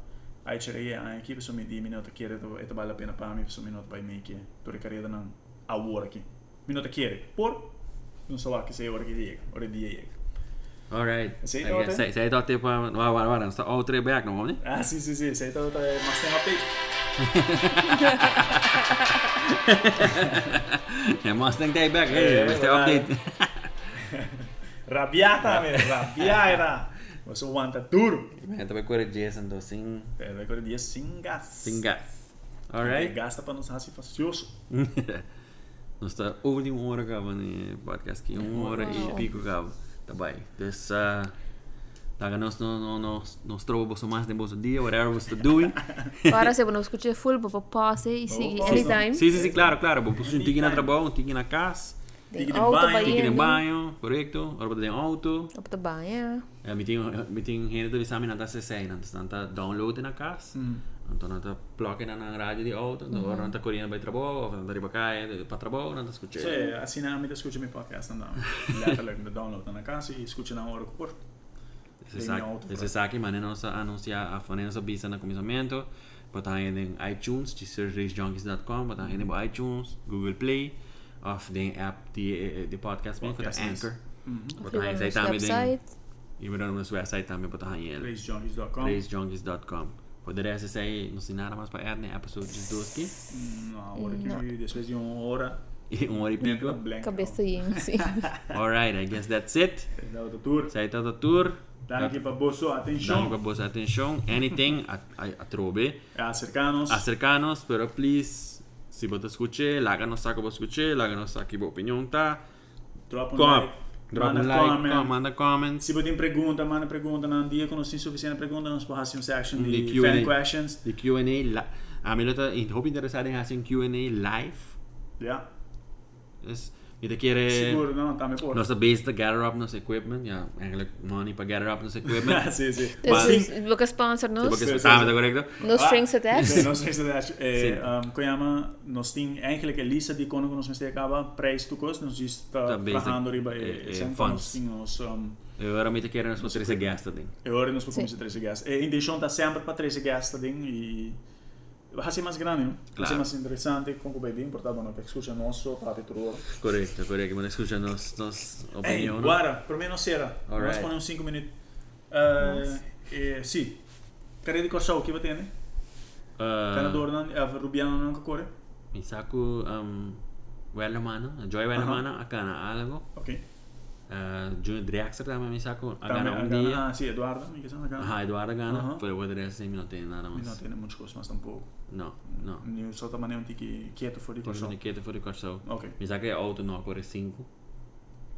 S2: ai chere a equipe so mi di minuto kere to eta bala pena pa mi so minuto pai mi che tu ricarriera nan a ora ki. Minuto kere. Por non so va che sei ora che diega, ora di diega.
S1: Alright.
S2: Sei tot, hè?
S1: Sei tot tipo, waar waar waar, dan staat all three back nog,
S2: [laughs]
S1: man.
S2: Ah, sì, sì, sì, sei stato ma stiamo a peggio.
S1: Ja, Mustang day back.
S2: Eh,
S1: Hey, we stay
S2: waar-
S1: né? update. Ah.
S2: Rabbiata, mi
S1: [laughs]
S2: rabbiata. Ma so quanta duro.
S1: Man, tu vai correr Jason do então, sim,
S2: É, vai correr dia sem gás. Sem
S1: sim gas. Alright.
S2: Gasta pra não ser assim facioso.
S1: [laughs] Nós tá está última hora acaba no podcast aqui, uma hora e
S3: Wow.
S1: pico acaba. Tá bem. tá This, uh, Dacă nós não não não não trovo você mais de bolso dia, whatever você tá [laughs] doing.
S3: Ahora se bueno, escuché full, papá, pause y sigue
S2: pause.
S3: anytime.
S1: Sim, sim, sim, claro, claro. Vou pôr um tique na trabalho, um tique na casa,
S3: De
S2: Tigre
S3: auto
S2: baño,
S3: va
S1: tique no
S3: yendo.
S1: banho, correto? Agora vou ter um auto.
S3: Op de baan, ja.
S1: É, me tem me tem renda de exame na tá se sei, não tá download na casa. Então não tá plug na na rádio de auto, agora não tá correndo para trabalho, não tá ribacaia, para trabalho, não tá escutando.
S2: Cioè, assinami da scucci mi podcast
S1: [laughs]
S2: andiamo. Leatele da download na casa e scucci na hora por.
S1: Esse
S2: Tem
S1: saque,
S2: alto
S1: esse saque, mano, nós anunciar a Fonensa Bisa no começamento. Botar ainda em iTunes, de surgerisjunkies.com, botar ainda em iTunes, Google Play, of the app de, de podcast, mesmo, botar
S2: Podcast, yes.
S1: Anchor.
S3: Op
S1: Botar
S3: de
S1: aí tá também.
S3: website.
S1: E melhor no nosso website também, botar aí ele.
S2: RaceJunkies.com.
S1: RaceJunkies.com. Poderia acessar aí, não sei nada mais para Erne, episódio de [laughs] 12 aqui.
S2: Mm, Una hora che mi después di un'ora.
S1: E um hora e
S2: Pico.
S1: pico.
S2: Blank.
S3: Cabeça yin, sim.
S1: Alright, I guess that's it.
S2: Da auto tour.
S1: Sai tá do tour.
S2: Danke pa bosso,
S1: Dá uma
S2: attention.
S1: boa atenção. Anything, a, a, a trobe.
S2: A cercanos.
S1: acercanos, pero please, si vos te escuché, láganos a que vos escuché, láganos a que vos opinión está.
S2: Drop un
S1: Com-
S2: like.
S1: Drop
S2: manda
S1: un like,
S2: comment.
S1: com- manda comments.
S2: Se potete pregunta, manda pregunta, non dico non si sufficiente pregunta, non si può fare un section
S1: Di
S2: di
S1: Q&A.
S2: fan questions.
S1: De Q&A, la- a mí lo está, y hope interesado en hacer un Q&A live.
S2: Yeah.
S1: Es, y te quiere...
S2: Sicuro, no, tammi por.
S1: Nuestra base de gather up nos equipment, ya, eigenlijk money para gather up nos
S2: [laughs]
S1: equipment.
S2: Sì, sì.
S3: Dus
S1: Sim.
S3: dus we gaan sponsor
S1: Sí,
S3: nos.
S1: porque
S2: Sí,
S1: es
S2: sí,
S1: ah,
S2: sí.
S1: correcto.
S3: No strings
S2: Nee, [laughs]
S3: attached.
S2: nog steeds attached.
S1: Sim.
S2: Eh, um, Koyama, nós tem eigenlijk Elisa die konden ons meteen acaba prijs toekomst. Nós
S1: Tá
S2: está
S1: basic,
S2: trabajando riba
S1: eh, eh,
S2: e sempre
S1: funds.
S2: nós tínhamos um,
S1: Y Eh, ahora me te quieren nos poner ese gas,
S2: eu era nós
S3: Sim.
S2: para 13 gas. E intenção está sempre para 13 gas também e Va a ser más grande, ¿no? Va a ser
S1: Claro.
S2: más interesante. Como que bien importante, bueno, que escuchen oso para ti todo.
S1: Correcto, correcto. Bueno, escucha nos, nos
S2: Ey,
S1: opinión.
S2: guarda, por mí no será. Vamos
S1: Alright.
S2: a poner un 5 minutos. Eh, eh, sí. Carreira de Corsol, que vai ter, né?
S1: Ah,
S2: Canador, não, eh, Rubiano nunca corre.
S1: me saco um, Wellermana, Joy Wellermana, a cana algo.
S2: Ok.
S1: Uh, Junior Drexler también me saco a
S2: Também,
S1: cana
S2: a
S1: un
S2: Gana-
S1: día.
S2: Ah, sí, Eduardo, me questão da Gana.
S1: Ajá, Eduardo gana,
S2: Ajá.
S1: pero el resto no tiene nada
S2: Mas Não
S1: más.
S2: tem muitas coisas, mas tampouco.
S1: No, no.
S2: Nem só também não tem que quieto fora de
S1: Tiene
S2: Corsol.
S1: un etiqueta fuera de corazón.
S2: Ok.
S1: Me saca auto, no, corre 5.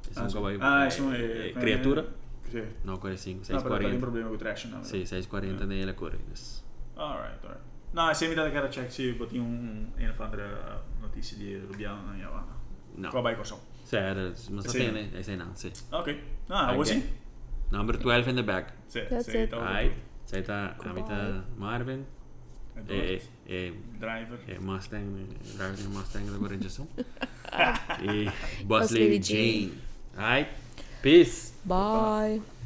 S1: Es
S2: Ah,
S1: un
S2: sim.
S1: caballo.
S2: Ah,
S1: eh,
S2: isso é...
S1: eh,
S2: é-
S1: criatura.
S2: Sim.
S1: No, corre 5,
S2: Não, peraí, tem
S1: 640.
S2: problema com o trash, não.
S1: Sí,
S2: Eh.
S1: 640 de la Corridas.
S2: Alright, alright. Não, você me dá cara check se eu tinha um... Em outra notícia de Rubiano na Yavana.
S1: No.
S2: Qual vai Corsol?
S1: O sea, no se
S2: Sí.
S1: tiene, ese no, sí.
S2: Ok. Ah, hoje
S1: Ok.
S2: sim.
S1: Number 12 in the back.
S2: Sim,
S3: That's
S2: sim,
S3: it.
S2: tá
S1: Ahí,
S2: ok.
S1: ahí está, ahí está Marvin. Eh, eh, eh,
S2: Driver.
S1: eh, Mustang, eh, Driver Mustang de orientação. E
S3: Boss
S1: Boss Lady
S3: Lady
S1: Jane. Alright, peace.
S3: Bye.